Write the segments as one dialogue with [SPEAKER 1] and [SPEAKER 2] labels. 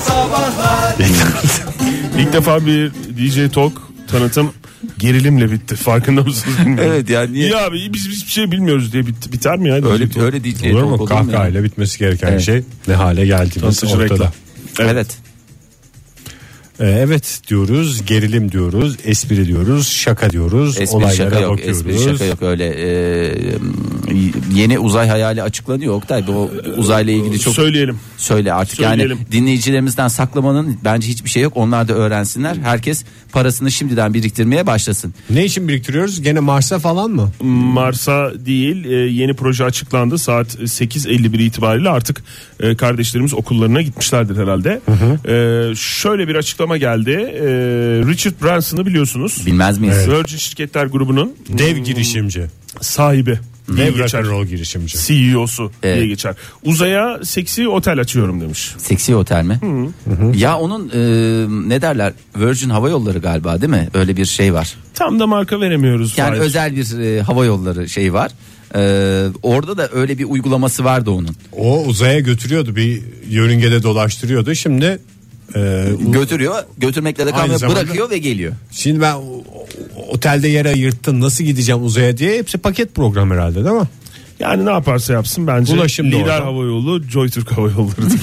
[SPEAKER 1] sabahlar.
[SPEAKER 2] İlk defa bir DJ Talk tanıtım gerilimle bitti. Farkında mısınız bilmiyorum.
[SPEAKER 3] Evet yani niye?
[SPEAKER 2] İyi abi biz biz bir şey bilmiyoruz diye bit, biter mi ya?
[SPEAKER 3] Öyle
[SPEAKER 2] DJ Talk?
[SPEAKER 3] öyle değil. Olur
[SPEAKER 4] Olur mu?
[SPEAKER 3] mu ya?
[SPEAKER 4] Kahkahayla bitmesi gereken
[SPEAKER 3] Evet.
[SPEAKER 4] şey ne hale geldiğimiz
[SPEAKER 2] Tanıtıcı
[SPEAKER 4] ortada.
[SPEAKER 2] reklam.
[SPEAKER 3] Evet.
[SPEAKER 4] Ee, evet diyoruz, gerilim diyoruz, espri diyoruz, şaka diyoruz,
[SPEAKER 3] Espri
[SPEAKER 4] olaylara
[SPEAKER 3] şaka yok.
[SPEAKER 4] bakıyoruz.
[SPEAKER 3] Espri şaka yok öyle. e, yeni uzay hayali açıklanıyor Oktay. Bu uzayla ilgili çok
[SPEAKER 2] Söyleyelim.
[SPEAKER 3] söyle artık
[SPEAKER 2] Söyleyelim.
[SPEAKER 3] yani dinleyicilerimizden saklamanın bence hiçbir şey yok. Onlar da öğrensinler. Herkes parasını şimdiden biriktirmeye başlasın.
[SPEAKER 4] Ne için biriktiriyoruz? Gene Mars'a falan mı?
[SPEAKER 3] Hmm.
[SPEAKER 2] Mars'a değil e, yeni proje açıklandı saat 8.51 itibariyle artık e, kardeşlerimiz okullarına gitmişlerdir herhalde. E, Şöyle bir açıklama geldi E, Richard Branson'ı biliyorsunuz
[SPEAKER 3] Bilmez miyiz?
[SPEAKER 2] Virgin Şirketler Grubu'nun
[SPEAKER 4] Dev girişimci.
[SPEAKER 2] sahibi diye
[SPEAKER 4] Dev
[SPEAKER 2] geçer.
[SPEAKER 4] rock'n'roll girişimci.
[SPEAKER 2] CEO'su
[SPEAKER 3] Evet.
[SPEAKER 2] diye geçer. Uzaya seksi otel açıyorum demiş.
[SPEAKER 3] Seksi otel mi? Ya onun e, ne derler? Virgin Hava Yolları galiba değil mi? Öyle bir şey var.
[SPEAKER 2] Tam da marka veremiyoruz.
[SPEAKER 3] Yani
[SPEAKER 2] Fahir.
[SPEAKER 3] özel bir e, hava yolları şey var. E, orada da öyle bir uygulaması vardı onun.
[SPEAKER 4] O uzaya götürüyordu bir yörüngede dolaştırıyordu. Şimdi e, u-
[SPEAKER 3] Götürüyor, götürmekle de kalmıyor,
[SPEAKER 4] zamanda-
[SPEAKER 3] bırakıyor ve geliyor.
[SPEAKER 4] şimdi ben o- o- otelde yer ayırttım nasıl gideceğim uzaya diye hepsi paket program herhalde değil mi?
[SPEAKER 2] Yani ne yaparsa yapsın bence
[SPEAKER 4] Ulaşım da
[SPEAKER 2] lider
[SPEAKER 4] orada.
[SPEAKER 2] hava yolu JoyTürk hava yollarıdır.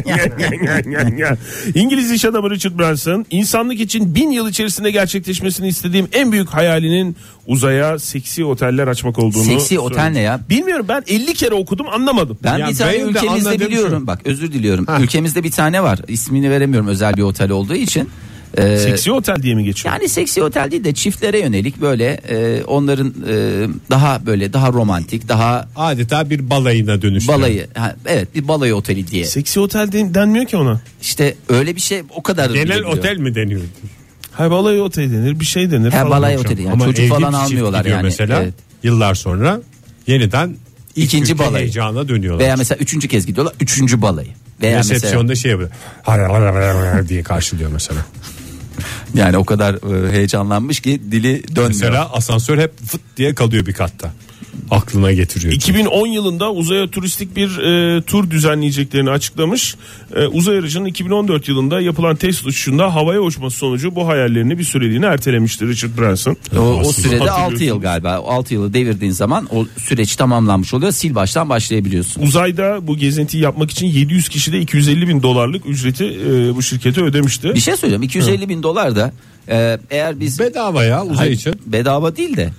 [SPEAKER 2] olmalı. İngiliz iş adamı Richard Branson insanlık için bin yıl içerisinde gerçekleşmesini istediğim en büyük hayalinin uzaya seksi oteller açmak olduğunu
[SPEAKER 3] Seksi
[SPEAKER 2] söyledi.
[SPEAKER 3] otel ne ya?
[SPEAKER 2] Bilmiyorum ben 50 kere okudum anlamadım.
[SPEAKER 3] Ben
[SPEAKER 4] Ya
[SPEAKER 3] bir tane
[SPEAKER 4] benim de
[SPEAKER 3] ülkemizde
[SPEAKER 4] anladığım
[SPEAKER 3] biliyorum.
[SPEAKER 4] şu.
[SPEAKER 3] Bak özür diliyorum.
[SPEAKER 4] Ha.
[SPEAKER 3] Ülkemizde bir tane var. İsmini veremiyorum özel bir otel olduğu için. E,
[SPEAKER 2] Seksi otel diye mi geçiyor?
[SPEAKER 3] Yani seksi otel değil de çiftlere yönelik böyle e, onların e, daha böyle daha romantik, daha
[SPEAKER 4] Adeta bir balayına dönüştü.
[SPEAKER 3] balayı. Ha, evet bir balayı oteli diye.
[SPEAKER 2] Seksi otel den- denmiyor ki ona.
[SPEAKER 3] İşte öyle bir şey o kadar
[SPEAKER 4] Genel
[SPEAKER 3] biliyorum.
[SPEAKER 4] otel mi deniyor?
[SPEAKER 2] Hay balay otel denir bir şey denir.
[SPEAKER 3] He
[SPEAKER 2] falan
[SPEAKER 3] balay
[SPEAKER 2] hocam.
[SPEAKER 3] oteli yani
[SPEAKER 4] Ama
[SPEAKER 3] çocuk
[SPEAKER 4] evli
[SPEAKER 3] falan
[SPEAKER 4] bir çift
[SPEAKER 3] almıyorlar
[SPEAKER 4] gidiyor
[SPEAKER 3] yani.
[SPEAKER 4] Mesela
[SPEAKER 3] Evet.
[SPEAKER 4] yıllar sonra yeniden ilk
[SPEAKER 3] İkinci
[SPEAKER 4] ülke
[SPEAKER 3] balayı.
[SPEAKER 4] heyecana dönüyorlar.
[SPEAKER 3] Veya mesela üçüncü kez gidiyorlar üçüncü balayı. Veya mesela
[SPEAKER 4] Resepsiyonda şey yapıyor. Har- har- har- har- har diye karşılıyor mesela.
[SPEAKER 3] yani o kadar e, heyecanlanmış ki dili dönmüyor.
[SPEAKER 4] Mesela asansör hep fıt diye kalıyor bir katta. Aklına getiriyor.
[SPEAKER 2] 2010 yılında uzaya turistik bir e, tur düzenleyeceklerini açıklamış. E, uzay aracının 2014 yılında yapılan test uçuşunda havaya uçması sonucu bu hayallerini bir süreliğine ertelemişti Richard Branson.
[SPEAKER 3] O, o sürede
[SPEAKER 2] Hatırlıyorsun.
[SPEAKER 3] 6 yıl galiba. 6 yılı devirdiğin zaman o süreç tamamlanmış oluyor. Sil baştan başlayabiliyorsun.
[SPEAKER 2] Uzayda bu gezintiyi yapmak için 700 kişi de 250 bin dolarlık ücreti e, bu şirkete ödemişti.
[SPEAKER 3] Bir şey söyleyeceğim. 250 bin dolar da e, eğer biz
[SPEAKER 4] Bedava ya uzay
[SPEAKER 3] Hayır,
[SPEAKER 4] için.
[SPEAKER 3] bedava değil de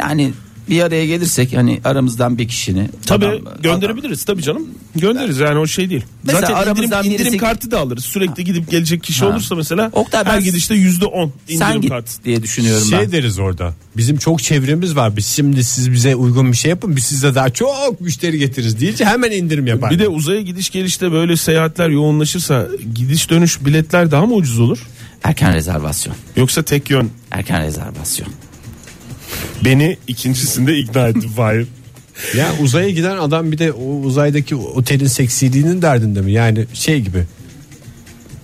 [SPEAKER 3] yani bir araya gelirsek hani aramızdan bir kişini
[SPEAKER 2] Tabii
[SPEAKER 3] adam-
[SPEAKER 2] gönderebiliriz tabii canım. Göndeririz yani o şey değil.
[SPEAKER 3] Mesela
[SPEAKER 2] Zaten indirim,
[SPEAKER 3] aramızdan
[SPEAKER 2] indirim
[SPEAKER 3] birisi-
[SPEAKER 2] kartı da alırız. Sürekli gidip gelecek kişi
[SPEAKER 3] Ha.
[SPEAKER 2] olursa mesela
[SPEAKER 3] Oktay,
[SPEAKER 2] her
[SPEAKER 3] ben-
[SPEAKER 2] gidişte %10
[SPEAKER 3] adam-
[SPEAKER 2] indirim
[SPEAKER 3] sen git
[SPEAKER 2] kartı.
[SPEAKER 3] diye düşünüyorum
[SPEAKER 4] Şey
[SPEAKER 3] ben.
[SPEAKER 4] deriz orada. Bizim çok çevremiz var. Biz şimdi siz bize uygun bir şey yapın. Biz size daha çok müşteri getiririz deyince hemen indirim yapar.
[SPEAKER 2] Bir de uzaya gidiş gelişte böyle seyahatler yoğunlaşırsa gidiş dönüş biletler daha mı ucuz olur?
[SPEAKER 3] Erken rezervasyon.
[SPEAKER 2] Yoksa tek yön
[SPEAKER 3] Erken rezervasyon.
[SPEAKER 2] beni ikincisinde ikna etti Fahir.
[SPEAKER 4] ya uzaya giden adam bir de o uzaydaki otelin seksiliğinin derdinde mi? Yani şey gibi.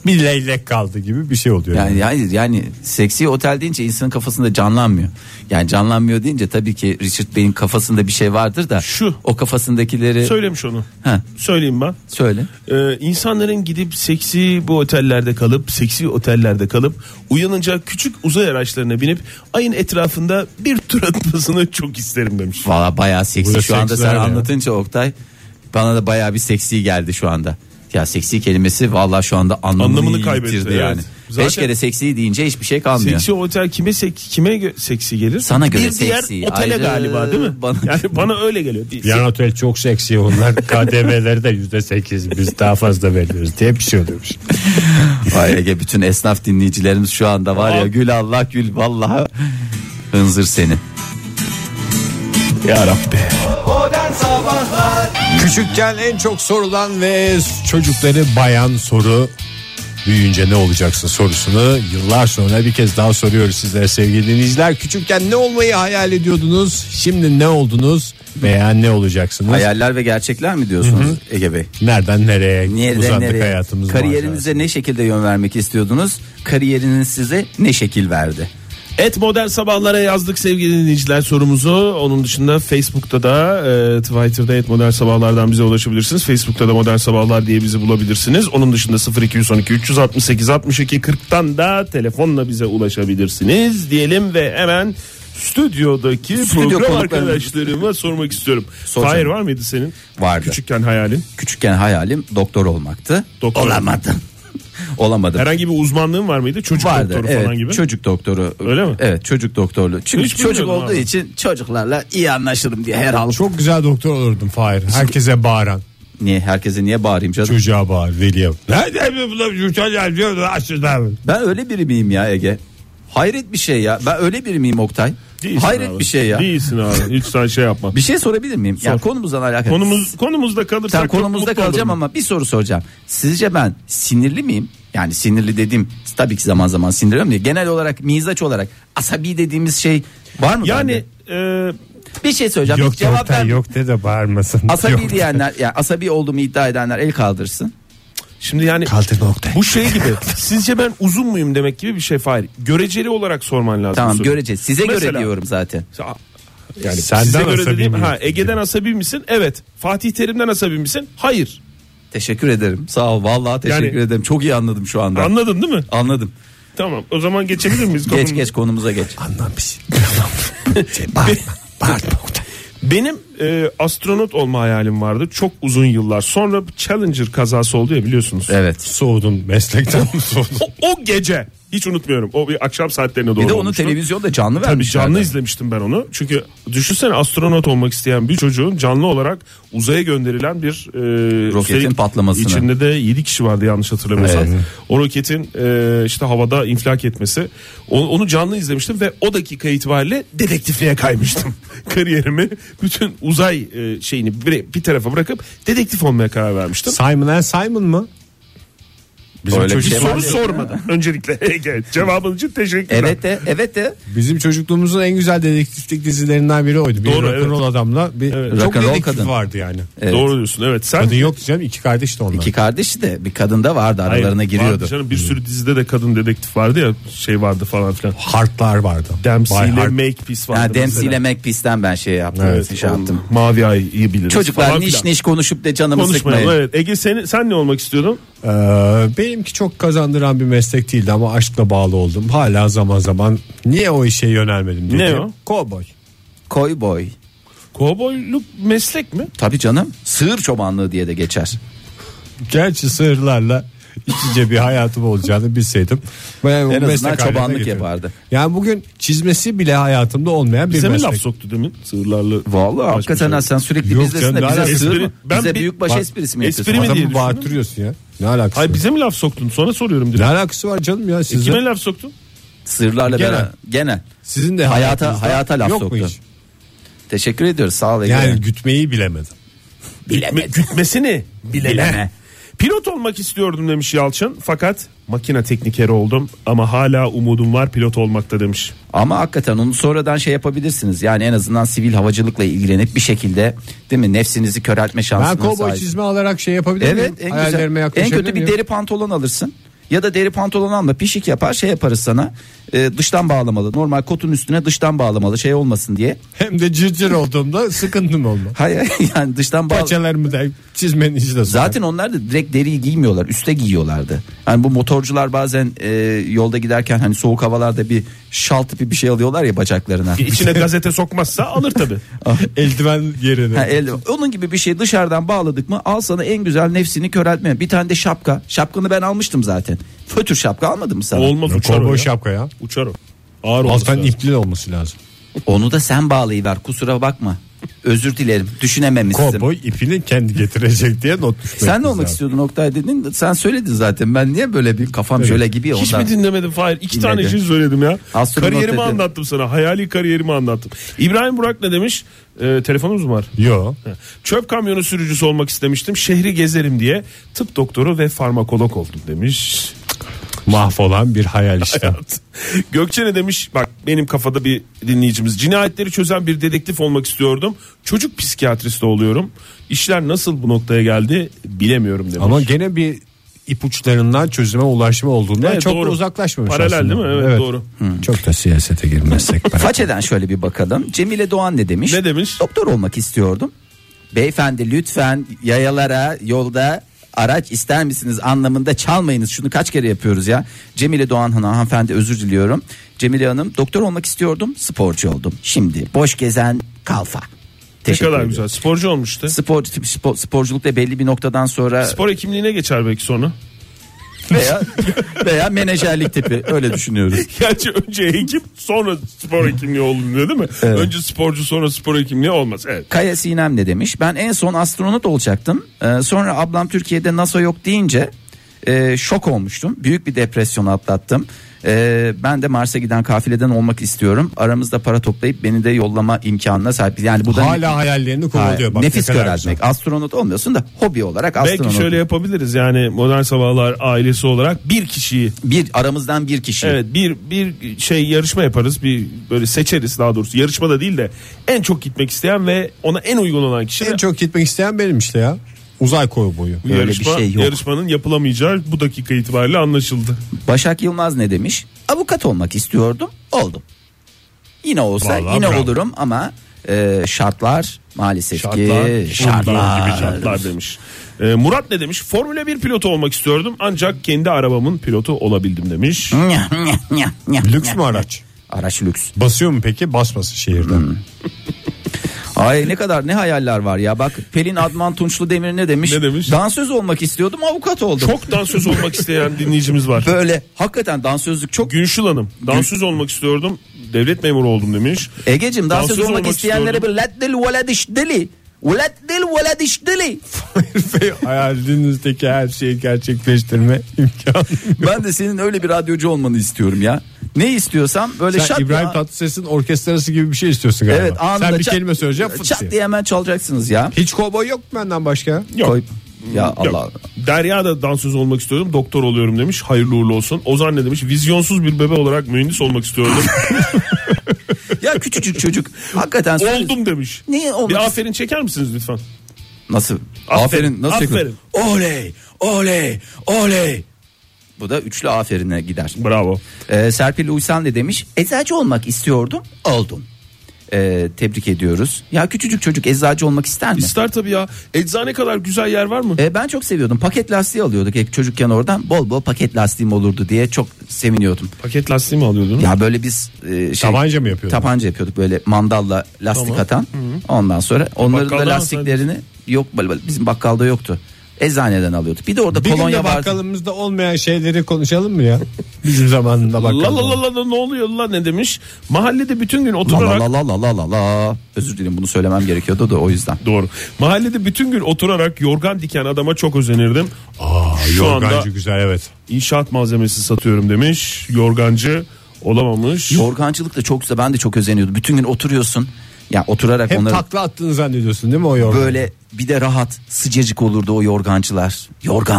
[SPEAKER 4] Bir leylek kaldı gibi bir şey oluyor. yani.
[SPEAKER 3] Yani hayır yani seksi otel deyince insanın kafasında canlanmıyor. Yani canlanmıyor deyince tabii ki Richard Bey'in kafasında bir şey vardır da
[SPEAKER 2] Şu.
[SPEAKER 3] o kafasındakileri
[SPEAKER 2] Söylemiş onu.
[SPEAKER 3] Ha,
[SPEAKER 2] Söyleyeyim ben.
[SPEAKER 3] söyle.
[SPEAKER 2] Ee, insanların gidip seksi bu otellerde kalıp seksi otellerde kalıp uyanınca küçük uzay araçlarına binip ayın etrafında bir tur atmasını çok isterim demiş.
[SPEAKER 3] Valla bayağı seksi
[SPEAKER 4] Burada
[SPEAKER 3] şu anda
[SPEAKER 4] seksiler
[SPEAKER 3] sen
[SPEAKER 4] ya.
[SPEAKER 3] anlatınca Oktay bana da bayağı bir seksi geldi şu anda. Ya seksi kelimesi valla şu anda anlamını,
[SPEAKER 2] Anlamını
[SPEAKER 3] yitirdi
[SPEAKER 2] kaybetti,
[SPEAKER 3] yani.
[SPEAKER 2] evet. Zaten-
[SPEAKER 3] Beş kere seksi deyince hiçbir şey kalmıyor.
[SPEAKER 2] Seksi otel kime sek kime gö- seksi gelir?
[SPEAKER 3] Sana göre
[SPEAKER 2] bir diğer
[SPEAKER 3] seksi,
[SPEAKER 2] otele
[SPEAKER 3] ayrı,
[SPEAKER 2] galiba değil mi?
[SPEAKER 3] bana-
[SPEAKER 2] Yani bana öyle geliyor.
[SPEAKER 4] Yan otel çok seksi onlar KDV'leri de yüzde sekiz biz daha fazla veriyoruz diye bir şey oluyormuş.
[SPEAKER 3] Vay Ege bütün esnaf dinleyicilerimiz şu anda var ya gül Allah gül vallahi hınzır seni.
[SPEAKER 2] Ya Rabbi.
[SPEAKER 1] Modern Sabahlar
[SPEAKER 4] Küçükken en çok sorulan ve çocukları bayan soru büyüyünce ne olacaksın sorusunu yıllar sonra bir kez daha soruyoruz sizlere sevgili dinleyiciler. Küçükken ne olmayı hayal ediyordunuz? Şimdi ne oldunuz? Veya ne olacaksınız?
[SPEAKER 3] Hayaller ve gerçekler mi diyorsunuz Ege Bey?
[SPEAKER 4] Nereden nereye
[SPEAKER 3] Nereden
[SPEAKER 4] uzandık
[SPEAKER 3] nereye?
[SPEAKER 4] hayatımız?
[SPEAKER 3] Kariyerinize ne şekilde yön vermek istiyordunuz? Kariyeriniz size ne şekil verdi?
[SPEAKER 2] Et Modern Sabahlara yazdık sevgili dinleyiciler sorumuzu. Onun dışında Facebook'ta da e, Twitter'da Et Modern Sabahlardan bize ulaşabilirsiniz. Facebook'ta da Modern Sabahlar diye bizi bulabilirsiniz. Onun dışında 0212 368 62 40'tan da telefonla bize ulaşabilirsiniz diyelim ve hemen stüdyodaki
[SPEAKER 3] Stüdyo
[SPEAKER 2] program
[SPEAKER 3] konuklarımız.
[SPEAKER 2] arkadaşlarıma sormak istiyorum.
[SPEAKER 3] Sor
[SPEAKER 2] Hayır
[SPEAKER 3] canım.
[SPEAKER 2] var mıydı senin?
[SPEAKER 3] Vardı.
[SPEAKER 2] Küçükken hayalin.
[SPEAKER 3] Küçükken hayalim doktor olmaktı.
[SPEAKER 2] Doktor.
[SPEAKER 3] Olamadım. Olamadım.
[SPEAKER 2] Herhangi bir uzmanlığın var mıydı? Çocuk
[SPEAKER 3] Vardı.
[SPEAKER 2] doktoru
[SPEAKER 3] evet,
[SPEAKER 2] falan gibi.
[SPEAKER 3] Çocuk doktoru.
[SPEAKER 2] Öyle mi?
[SPEAKER 3] Evet, çocuk doktorluğu. Çünkü
[SPEAKER 2] Hiç
[SPEAKER 3] çocuk
[SPEAKER 2] bilmiyordum
[SPEAKER 3] olduğu
[SPEAKER 2] abi.
[SPEAKER 3] için çocuklarla iyi anlaşırım diye her hal.
[SPEAKER 4] Çok güzel doktor olurdum Fahir. Herkese bağıran.
[SPEAKER 3] Niye herkese niye bağırayım canım?
[SPEAKER 4] Çocuğa bağır veliye. Nerede bu bu- bu çocuğa diyor da açsınlar.
[SPEAKER 3] Ben öyle biri miyim ya Ege? Hayret bir şey ya. Ben öyle biri miyim Oktay?
[SPEAKER 2] Değilsin
[SPEAKER 3] Hayret
[SPEAKER 2] abi.
[SPEAKER 3] bir şey ya.
[SPEAKER 2] Değilsin abi. Hiç sen şey yapma.
[SPEAKER 3] Bir şey sorabilir miyim? Ya konumuzdan alakalı.
[SPEAKER 2] Konumuz konumuzda kalırsak
[SPEAKER 3] Sen
[SPEAKER 2] çok
[SPEAKER 3] konumuzda
[SPEAKER 2] mutlu
[SPEAKER 3] kalacağım
[SPEAKER 2] olurum.
[SPEAKER 3] ama bir soru soracağım. Sizce ben sinirli miyim? Yani sinirli dediğim tabii ki zaman zaman sinirliyorum diye. Genel olarak mizaç olarak asabi dediğimiz şey var mı?
[SPEAKER 2] Yani
[SPEAKER 3] bende?
[SPEAKER 2] e,
[SPEAKER 3] bir şey söyleyeceğim.
[SPEAKER 4] Yok
[SPEAKER 3] Cevap
[SPEAKER 4] doktor
[SPEAKER 3] ver-
[SPEAKER 4] yok de de bağırmasın.
[SPEAKER 3] Asabi
[SPEAKER 4] Yok de.
[SPEAKER 3] diyenler yani asabi olduğumu iddia edenler el kaldırsın.
[SPEAKER 2] şimdi yani
[SPEAKER 4] Kaldır noktayı.
[SPEAKER 2] bu şey gibi. sizce ben uzun muyum demek gibi bir şey Fahir. Göreceli olarak sorman lazım.
[SPEAKER 3] Tamam
[SPEAKER 2] soruyu.
[SPEAKER 3] göreceğiz. Size göre
[SPEAKER 2] Mesela-
[SPEAKER 3] diyorum zaten.
[SPEAKER 4] Yani
[SPEAKER 2] Size
[SPEAKER 4] senden
[SPEAKER 2] göre
[SPEAKER 4] asabi
[SPEAKER 2] dediğim
[SPEAKER 4] miyim?
[SPEAKER 2] ha Ege'den asabi misin? Evet. Fatih Terim'den asabi misin? Hayır.
[SPEAKER 3] Teşekkür ederim. Sağ ol. Vallahi teşekkür
[SPEAKER 2] Yani-
[SPEAKER 3] ederim. Çok iyi anladım şu anda.
[SPEAKER 2] Anladın değil mi?
[SPEAKER 3] Anladım.
[SPEAKER 2] Tamam. O zaman geçebilir miyiz?
[SPEAKER 3] Geç
[SPEAKER 2] konumuza?
[SPEAKER 3] geç konumuza geç.
[SPEAKER 4] Anlamış. Bağırma. Bağırma noktayı.
[SPEAKER 2] Benim e, astronot olma hayalim vardı. Çok uzun yıllar. Sonra Challenger kazası oldu ya biliyorsunuz.
[SPEAKER 3] Evet.
[SPEAKER 4] Soğudun meslekten mi soğudun?
[SPEAKER 2] O, o gece hiç unutmuyorum. O bir akşam saatlerine doğru
[SPEAKER 3] Bir de onu
[SPEAKER 2] olmuştu.
[SPEAKER 3] televizyonda canlı
[SPEAKER 2] Tabii
[SPEAKER 3] vermişler.
[SPEAKER 2] canlı izlemiştim ben onu. Çünkü düşünsene astronot olmak isteyen bir çocuğun canlı olarak uzaya gönderilen bir e,
[SPEAKER 3] Roketin
[SPEAKER 2] üstelik
[SPEAKER 3] patlamasını.
[SPEAKER 2] İçinde de 7 kişi vardı yanlış hatırlamıyorsam.
[SPEAKER 3] Evet.
[SPEAKER 2] O roketin e, işte havada infilak etmesi. O- onu canlı izlemiştim ve o dakika itibariyle dedektifliğe kaymıştım. Kariyerimi bütün uzay e, şeyini bir, bir tarafa bırakıp dedektif olmaya karar vermiştim.
[SPEAKER 4] Simon and Simon mı? Bizim,
[SPEAKER 3] Öyle bir
[SPEAKER 4] çocuk-
[SPEAKER 3] şey var.
[SPEAKER 2] Soru sormadan öncelikle Ege cevabın için teşekkürler.
[SPEAKER 3] Evet de evet de
[SPEAKER 4] bizim çocukluğumuzun en güzel dedektiflik dizilerinden biri oydu. Bir
[SPEAKER 2] Doğru,
[SPEAKER 4] rock'n'roll adamla bir çok
[SPEAKER 3] Rock'n'roll
[SPEAKER 4] dedektif
[SPEAKER 3] kadın.
[SPEAKER 4] vardı yani.
[SPEAKER 3] Evet.
[SPEAKER 2] Doğru diyorsun evet sen
[SPEAKER 4] Kadın yok diyeceğim iki kardeş de onlar.
[SPEAKER 3] iki kardeş de bir kadın da vardı
[SPEAKER 2] Hayır,
[SPEAKER 3] aralarına
[SPEAKER 2] vardı
[SPEAKER 3] giriyordu. Hmm.
[SPEAKER 2] canım, bir sürü dizide de kadın dedektif vardı ya şey vardı falan filan.
[SPEAKER 4] Hartlar vardı.
[SPEAKER 2] Dempsey
[SPEAKER 4] Bay
[SPEAKER 2] ile
[SPEAKER 4] Hart.
[SPEAKER 2] Makepeace vardı.
[SPEAKER 3] Ha, Dempsey
[SPEAKER 2] mesela.
[SPEAKER 3] ile Macbeth'ten ben şey yaptım.
[SPEAKER 4] Evet,
[SPEAKER 3] şey yaptım.
[SPEAKER 2] Mavi Ay'ı biliriz.
[SPEAKER 3] Çocuklar
[SPEAKER 2] falan
[SPEAKER 3] niş
[SPEAKER 2] filan.
[SPEAKER 3] niş konuşup da canımı
[SPEAKER 2] Konuşmayalım.
[SPEAKER 3] sıkmayın.
[SPEAKER 2] Evet. Ege sen, sen ne olmak istiyordun?
[SPEAKER 4] Ee, benimki çok kazandıran bir meslek değildi ama aşkla bağlı oldum. Hala zaman zaman niye o işe yönelmedim diye.
[SPEAKER 2] Ne
[SPEAKER 4] diyorum.
[SPEAKER 2] o?
[SPEAKER 4] Kovboy.
[SPEAKER 3] Koy boy.
[SPEAKER 2] Kovboyluk meslek mi?
[SPEAKER 3] Tabii canım. Sığır çobanlığı diye de geçer.
[SPEAKER 4] Gerçi sığırlarla içince bir hayatım olacağını bilseydim. Ben bu
[SPEAKER 3] En azından
[SPEAKER 4] meslek haline
[SPEAKER 3] çobanlık
[SPEAKER 4] getirdim.
[SPEAKER 3] yapardı.
[SPEAKER 4] Yani bugün çizmesi bile hayatımda olmayan bir
[SPEAKER 2] Bize mi
[SPEAKER 4] meslek.
[SPEAKER 2] laf soktu demin? Sığırlarla.
[SPEAKER 3] Vallahi
[SPEAKER 2] Baş
[SPEAKER 3] hakikaten
[SPEAKER 2] başa.
[SPEAKER 3] ha, sen sürekli
[SPEAKER 4] şey Yok
[SPEAKER 3] bizdesin
[SPEAKER 4] canım,
[SPEAKER 3] de
[SPEAKER 4] ne
[SPEAKER 3] bize
[SPEAKER 4] alakası?
[SPEAKER 3] sığır mı?
[SPEAKER 2] Ben
[SPEAKER 3] bize
[SPEAKER 2] bir-
[SPEAKER 3] büyükbaş
[SPEAKER 2] bak,
[SPEAKER 3] esprisi mi yapıyorsun?
[SPEAKER 2] espri mi diye
[SPEAKER 4] Adamı
[SPEAKER 2] düşündüm.
[SPEAKER 4] bağırtırıyorsun ya. Ne alakası
[SPEAKER 2] Hayır
[SPEAKER 4] var?
[SPEAKER 2] bize mi laf soktun? Sonra soruyorum
[SPEAKER 4] Ne
[SPEAKER 2] direkt.
[SPEAKER 4] alakası var canım ya sizin?
[SPEAKER 2] Kime laf soktun?
[SPEAKER 3] Sığırlarla
[SPEAKER 4] Genel.
[SPEAKER 3] beraber. Genel.
[SPEAKER 4] Sizin de
[SPEAKER 3] Hayata-
[SPEAKER 4] hayatınızda
[SPEAKER 3] hayata laf
[SPEAKER 4] yok mu
[SPEAKER 3] soktu.
[SPEAKER 4] hiç?
[SPEAKER 3] Teşekkür ediyoruz. Sağ ol Ege.
[SPEAKER 4] Yani gütmeyi bilemedim.
[SPEAKER 3] Bilemedim.
[SPEAKER 2] Gütmesini bilene.
[SPEAKER 3] Bilene.
[SPEAKER 2] Pilot olmak istiyordum demiş Yalçın. Fakat makine teknikeri oldum ama hala umudum var pilot olmakta demiş.
[SPEAKER 3] Ama hakikaten onu sonradan şey yapabilirsiniz. Yani en azından sivil havacılıkla ilgilenip bir şekilde değil mi nefsinizi köreltme şansına
[SPEAKER 4] Ben kovboy
[SPEAKER 3] sahip.
[SPEAKER 4] çizme alarak şey yapabilir
[SPEAKER 3] Evet
[SPEAKER 4] miyim?
[SPEAKER 3] en
[SPEAKER 4] Hayallerime
[SPEAKER 3] güzel. En
[SPEAKER 4] yaklaşabilir
[SPEAKER 3] kötü bir
[SPEAKER 4] miyim?
[SPEAKER 3] deri pantolon alırsın. Ya da deri pantolon alma pişik yapar şey yaparız sana. Ee, dıştan bağlamalı. Normal kotun üstüne dıştan bağlamalı şey olmasın diye.
[SPEAKER 4] Hem de cırcır olduğumda sıkıntım olma.
[SPEAKER 3] Hayır yani dıştan bağlı.
[SPEAKER 4] Paçalarımı da çizmenin içine sokar.
[SPEAKER 3] Zaten onlar da direkt deriyi giymiyorlar, üste giyiyorlardı. Hani bu motorcular bazen e, yolda giderken hani soğuk havalarda bir şal tipi bir şey alıyorlar ya bacaklarına.
[SPEAKER 2] İçine gazete sokmazsa alır tabii.
[SPEAKER 4] eldiven yerine.
[SPEAKER 3] Ha, elde- onun gibi bir şey dışarıdan bağladık mı al sana en güzel nefsini köreltme. Bir tane de şapka. Şapkanı ben almıştım zaten. Fötür şapka almadım mı sana?
[SPEAKER 2] Olmaz
[SPEAKER 4] Ya,
[SPEAKER 2] uçar o
[SPEAKER 4] kovboy
[SPEAKER 2] ya.
[SPEAKER 4] şapka ya.
[SPEAKER 2] Uçar o. Ağır olması
[SPEAKER 4] Alttan
[SPEAKER 2] lazım.
[SPEAKER 4] ipli olması lazım.
[SPEAKER 3] Onu da sen bağlayıver kusura bakma. Özür dilerim düşünememişsin.
[SPEAKER 4] Kovboy ipini kendi getirecek diye not düşmek.
[SPEAKER 3] Sen ne olmak istiyordun Oktay dedin. Sen söyledin zaten. Ben niye böyle bir kafam şöyle gibi ya
[SPEAKER 2] Hiç
[SPEAKER 3] ondan.
[SPEAKER 2] mi dinlemedin Fahir? İki
[SPEAKER 3] Dinledim.
[SPEAKER 2] tane şey söyledim ya.
[SPEAKER 3] Astronot
[SPEAKER 2] kariyerimi
[SPEAKER 3] dedi.
[SPEAKER 2] anlattım sana. Hayali kariyerimi anlattım. İbrahim Burak ne demiş? Ee, telefonumuz mu var?
[SPEAKER 4] Yo.
[SPEAKER 2] Ha. Çöp kamyonu sürücüsü olmak istemiştim. Şehri gezerim diye tıp doktoru ve farmakolog oldum demiş.
[SPEAKER 4] Mahvolan bir hayal işte.
[SPEAKER 2] Gökçe ne demiş? Bak benim kafada bir dinleyicimiz. Cinayetleri çözen bir dedektif olmak istiyordum. Çocuk psikiyatristi oluyorum. İşler nasıl bu noktaya geldi bilemiyorum demiş.
[SPEAKER 4] Ama gene bir ipuçlarından çözüme ulaşma olduğunda
[SPEAKER 2] Evet,
[SPEAKER 4] çok da
[SPEAKER 2] doğru.
[SPEAKER 4] uzaklaşmamış
[SPEAKER 2] Paralel
[SPEAKER 4] aslında.
[SPEAKER 2] değil mi? Evet, doğru.
[SPEAKER 4] Çok da siyasete girmezsek.
[SPEAKER 3] Façeden şöyle bir bakalım. Cemile Doğan ne demiş?
[SPEAKER 2] Ne demiş?
[SPEAKER 3] Doktor olmak istiyordum. Beyefendi lütfen yayalara yolda araç ister misiniz anlamında çalmayınız. Şunu kaç kere yapıyoruz ya. Cemile Doğan Hanım hanımefendi özür diliyorum. Cemile Hanım doktor olmak istiyordum sporcu oldum. Şimdi boş gezen kalfa.
[SPEAKER 2] Ne
[SPEAKER 3] Teşekkür
[SPEAKER 2] kadar
[SPEAKER 3] ederim.
[SPEAKER 2] güzel. Sporcu olmuştu.
[SPEAKER 3] Spor, spor, sporculuk da belli bir noktadan sonra
[SPEAKER 2] Spor hekimliğine geçer belki sonra.
[SPEAKER 3] veya, veya menajerlik tipi öyle düşünüyoruz.
[SPEAKER 2] Gerçi önce hekim sonra spor hekimliği olunuyor değil mi? Önce sporcu sonra spor hekimliği olmaz. Evet.
[SPEAKER 3] Kaya Sinem ne demiş? Ben en son astronot olacaktım. Ee, sonra ablam Türkiye'de NASA yok deyince e, şok olmuştum. Büyük bir depresyon atlattım. Ee, ben de Mars'a giden kafileden olmak istiyorum. Aramızda para toplayıp beni de yollama imkanına sahip. Yani bu da
[SPEAKER 4] Hala hayallerini
[SPEAKER 3] Ha,
[SPEAKER 4] kovalıyor. Bak, ne
[SPEAKER 3] nefis
[SPEAKER 4] kadar
[SPEAKER 3] köreltmek.
[SPEAKER 4] güzel.
[SPEAKER 3] Astronot olmuyorsun da hobi olarak astronot.
[SPEAKER 2] Belki şöyle yapabiliriz yani modern sabahlar ailesi olarak bir kişiyi
[SPEAKER 3] bir aramızdan bir kişi.
[SPEAKER 2] evet bir bir şey yarışma yaparız bir böyle seçeriz daha doğrusu yarışma da değil de en çok gitmek isteyen ve ona en uygun olan kişi
[SPEAKER 4] En çok gitmek isteyen benim işte ya. Uzay boyu.
[SPEAKER 2] bu
[SPEAKER 3] Öyle bir
[SPEAKER 2] yarışma,
[SPEAKER 3] şey yok.
[SPEAKER 2] yarışmanın yapılamayacağı bu dakika itibariyle anlaşıldı.
[SPEAKER 3] Başak Yılmaz ne demiş? Avukat olmak istiyordum, oldum. Yine olsa
[SPEAKER 4] Vallahi
[SPEAKER 3] yine
[SPEAKER 4] bravo.
[SPEAKER 3] olurum ama e, şartlar maalesef
[SPEAKER 2] Şartlar,
[SPEAKER 3] ki
[SPEAKER 2] şartlar gibi şartlar demiş. Ee, Murat ne demiş? Formula 1 pilotu olmak istiyordum ancak kendi arabamın pilotu olabildim demiş.
[SPEAKER 3] Nya, nya, nya, nya,
[SPEAKER 4] Lüks
[SPEAKER 3] nya.
[SPEAKER 4] mü araç?
[SPEAKER 3] Araç lüks.
[SPEAKER 4] Basıyor mu peki? Basması şehirde.
[SPEAKER 3] Hmm. Ay ne kadar ne hayaller var ya. Bak Pelin Adman Tunçlu Demir ne demiş?
[SPEAKER 2] Ne demiş?
[SPEAKER 3] Dansöz olmak istiyordum avukat oldum.
[SPEAKER 2] Çok dansöz olmak isteyen dinleyicimiz var.
[SPEAKER 3] Böyle hakikaten dansözlük çok.
[SPEAKER 2] Günşül Hanım dansöz olmak istiyordum devlet memuru oldum demiş.
[SPEAKER 3] Egeciğim dansöz,
[SPEAKER 2] Dansöz
[SPEAKER 3] olmak
[SPEAKER 2] olmak
[SPEAKER 3] isteyenlere bir
[SPEAKER 2] istiyordum.
[SPEAKER 3] let dil veladiş deli. Let dil veladiş deli.
[SPEAKER 4] Hayalinizdeki her şeyi gerçekleştirme imkanı.
[SPEAKER 3] Ben de senin öyle bir radyocu olmanı istiyorum ya. Ne istiyorsam böyle şart
[SPEAKER 4] Sen İbrahim
[SPEAKER 3] ya.
[SPEAKER 4] Tatlıses'in orkestrası gibi bir şey istiyorsun galiba.
[SPEAKER 3] Evet anında
[SPEAKER 4] Sen bir
[SPEAKER 3] çat-
[SPEAKER 4] kelime söyleyeceksin. fıt
[SPEAKER 3] Çat
[SPEAKER 4] diye.
[SPEAKER 3] diye hemen çalacaksınız ya.
[SPEAKER 4] Hiç kovboy yok mu benden başka?
[SPEAKER 2] Yok.
[SPEAKER 3] Koy- Ya
[SPEAKER 2] Yok.
[SPEAKER 3] Allah.
[SPEAKER 2] Derya da dansöz olmak istiyordum. Doktor oluyorum demiş. Hayırlı uğurlu olsun. Ozan ne demiş? Vizyonsuz bir bebe olarak mühendis olmak istiyordum.
[SPEAKER 3] Ya küçücük çocuk. Hakikaten söyle-
[SPEAKER 2] Oldum demiş.
[SPEAKER 3] Niye olmak
[SPEAKER 2] Bir
[SPEAKER 3] ist-
[SPEAKER 2] aferin çeker misiniz lütfen?
[SPEAKER 3] Nasıl? Aferin,
[SPEAKER 2] Aferin,
[SPEAKER 3] nasıl?
[SPEAKER 2] aferin.
[SPEAKER 3] çekilir? Oley, oley, oley. Bu da üçlü aferine gider.
[SPEAKER 2] Bravo.
[SPEAKER 3] Ee, Serpil Uysal ne demiş? Eczacı olmak istiyordum, oldum. Ee, tebrik ediyoruz. Ya küçücük çocuk eczacı olmak ister mi?
[SPEAKER 2] İster tabii ya. Eczane kadar güzel yer var mı?
[SPEAKER 3] Ee, ben çok seviyordum. Paket lastiği alıyorduk hep çocukken oradan. Bol bol paket lastiğim olurdu diye çok seviniyordum.
[SPEAKER 2] Paket lastiği mi alıyordun?
[SPEAKER 3] Ya böyle biz e, şey,
[SPEAKER 4] Tabanca mı yapıyordun?
[SPEAKER 3] Tabanca yapıyorduk böyle mandalla lastik
[SPEAKER 2] Tamam.
[SPEAKER 3] atan. Ondan sonra onların
[SPEAKER 2] bakkaldan
[SPEAKER 3] da
[SPEAKER 2] mı
[SPEAKER 3] lastiklerini yok böyle- böyle bizim bakkalda yoktu. Eczaneden alıyorduk. Bir de orada
[SPEAKER 4] Bir gün
[SPEAKER 3] kolonya
[SPEAKER 4] de
[SPEAKER 3] vardı.
[SPEAKER 4] bakkalımızda olmayan şeyleri konuşalım mı ya? Bizim zamanında bakkal.
[SPEAKER 2] La la la la la ne oluyor la ne demiş? Mahallede bütün gün
[SPEAKER 3] La la
[SPEAKER 2] oturarak
[SPEAKER 3] la la la la la. Özür dilerim bunu söylemem gerekiyordu da o yüzden.
[SPEAKER 2] Doğru. Mahallede bütün gün oturarak yorgan diken adama çok özenirdim. Şu anda
[SPEAKER 4] güzel evet.
[SPEAKER 2] inşaat malzemesi satıyorum demiş. Yorgancı olamamış.
[SPEAKER 3] Yorgancılık da çok güzel ben de çok özeniyordum. Bütün gün oturuyorsun. Ya oturarak
[SPEAKER 4] Hep
[SPEAKER 3] onları
[SPEAKER 4] takla attığını zannediyorsun değil mi o yorgan?
[SPEAKER 3] böyle bir de rahat sıcacık olurdu o yorgancılar.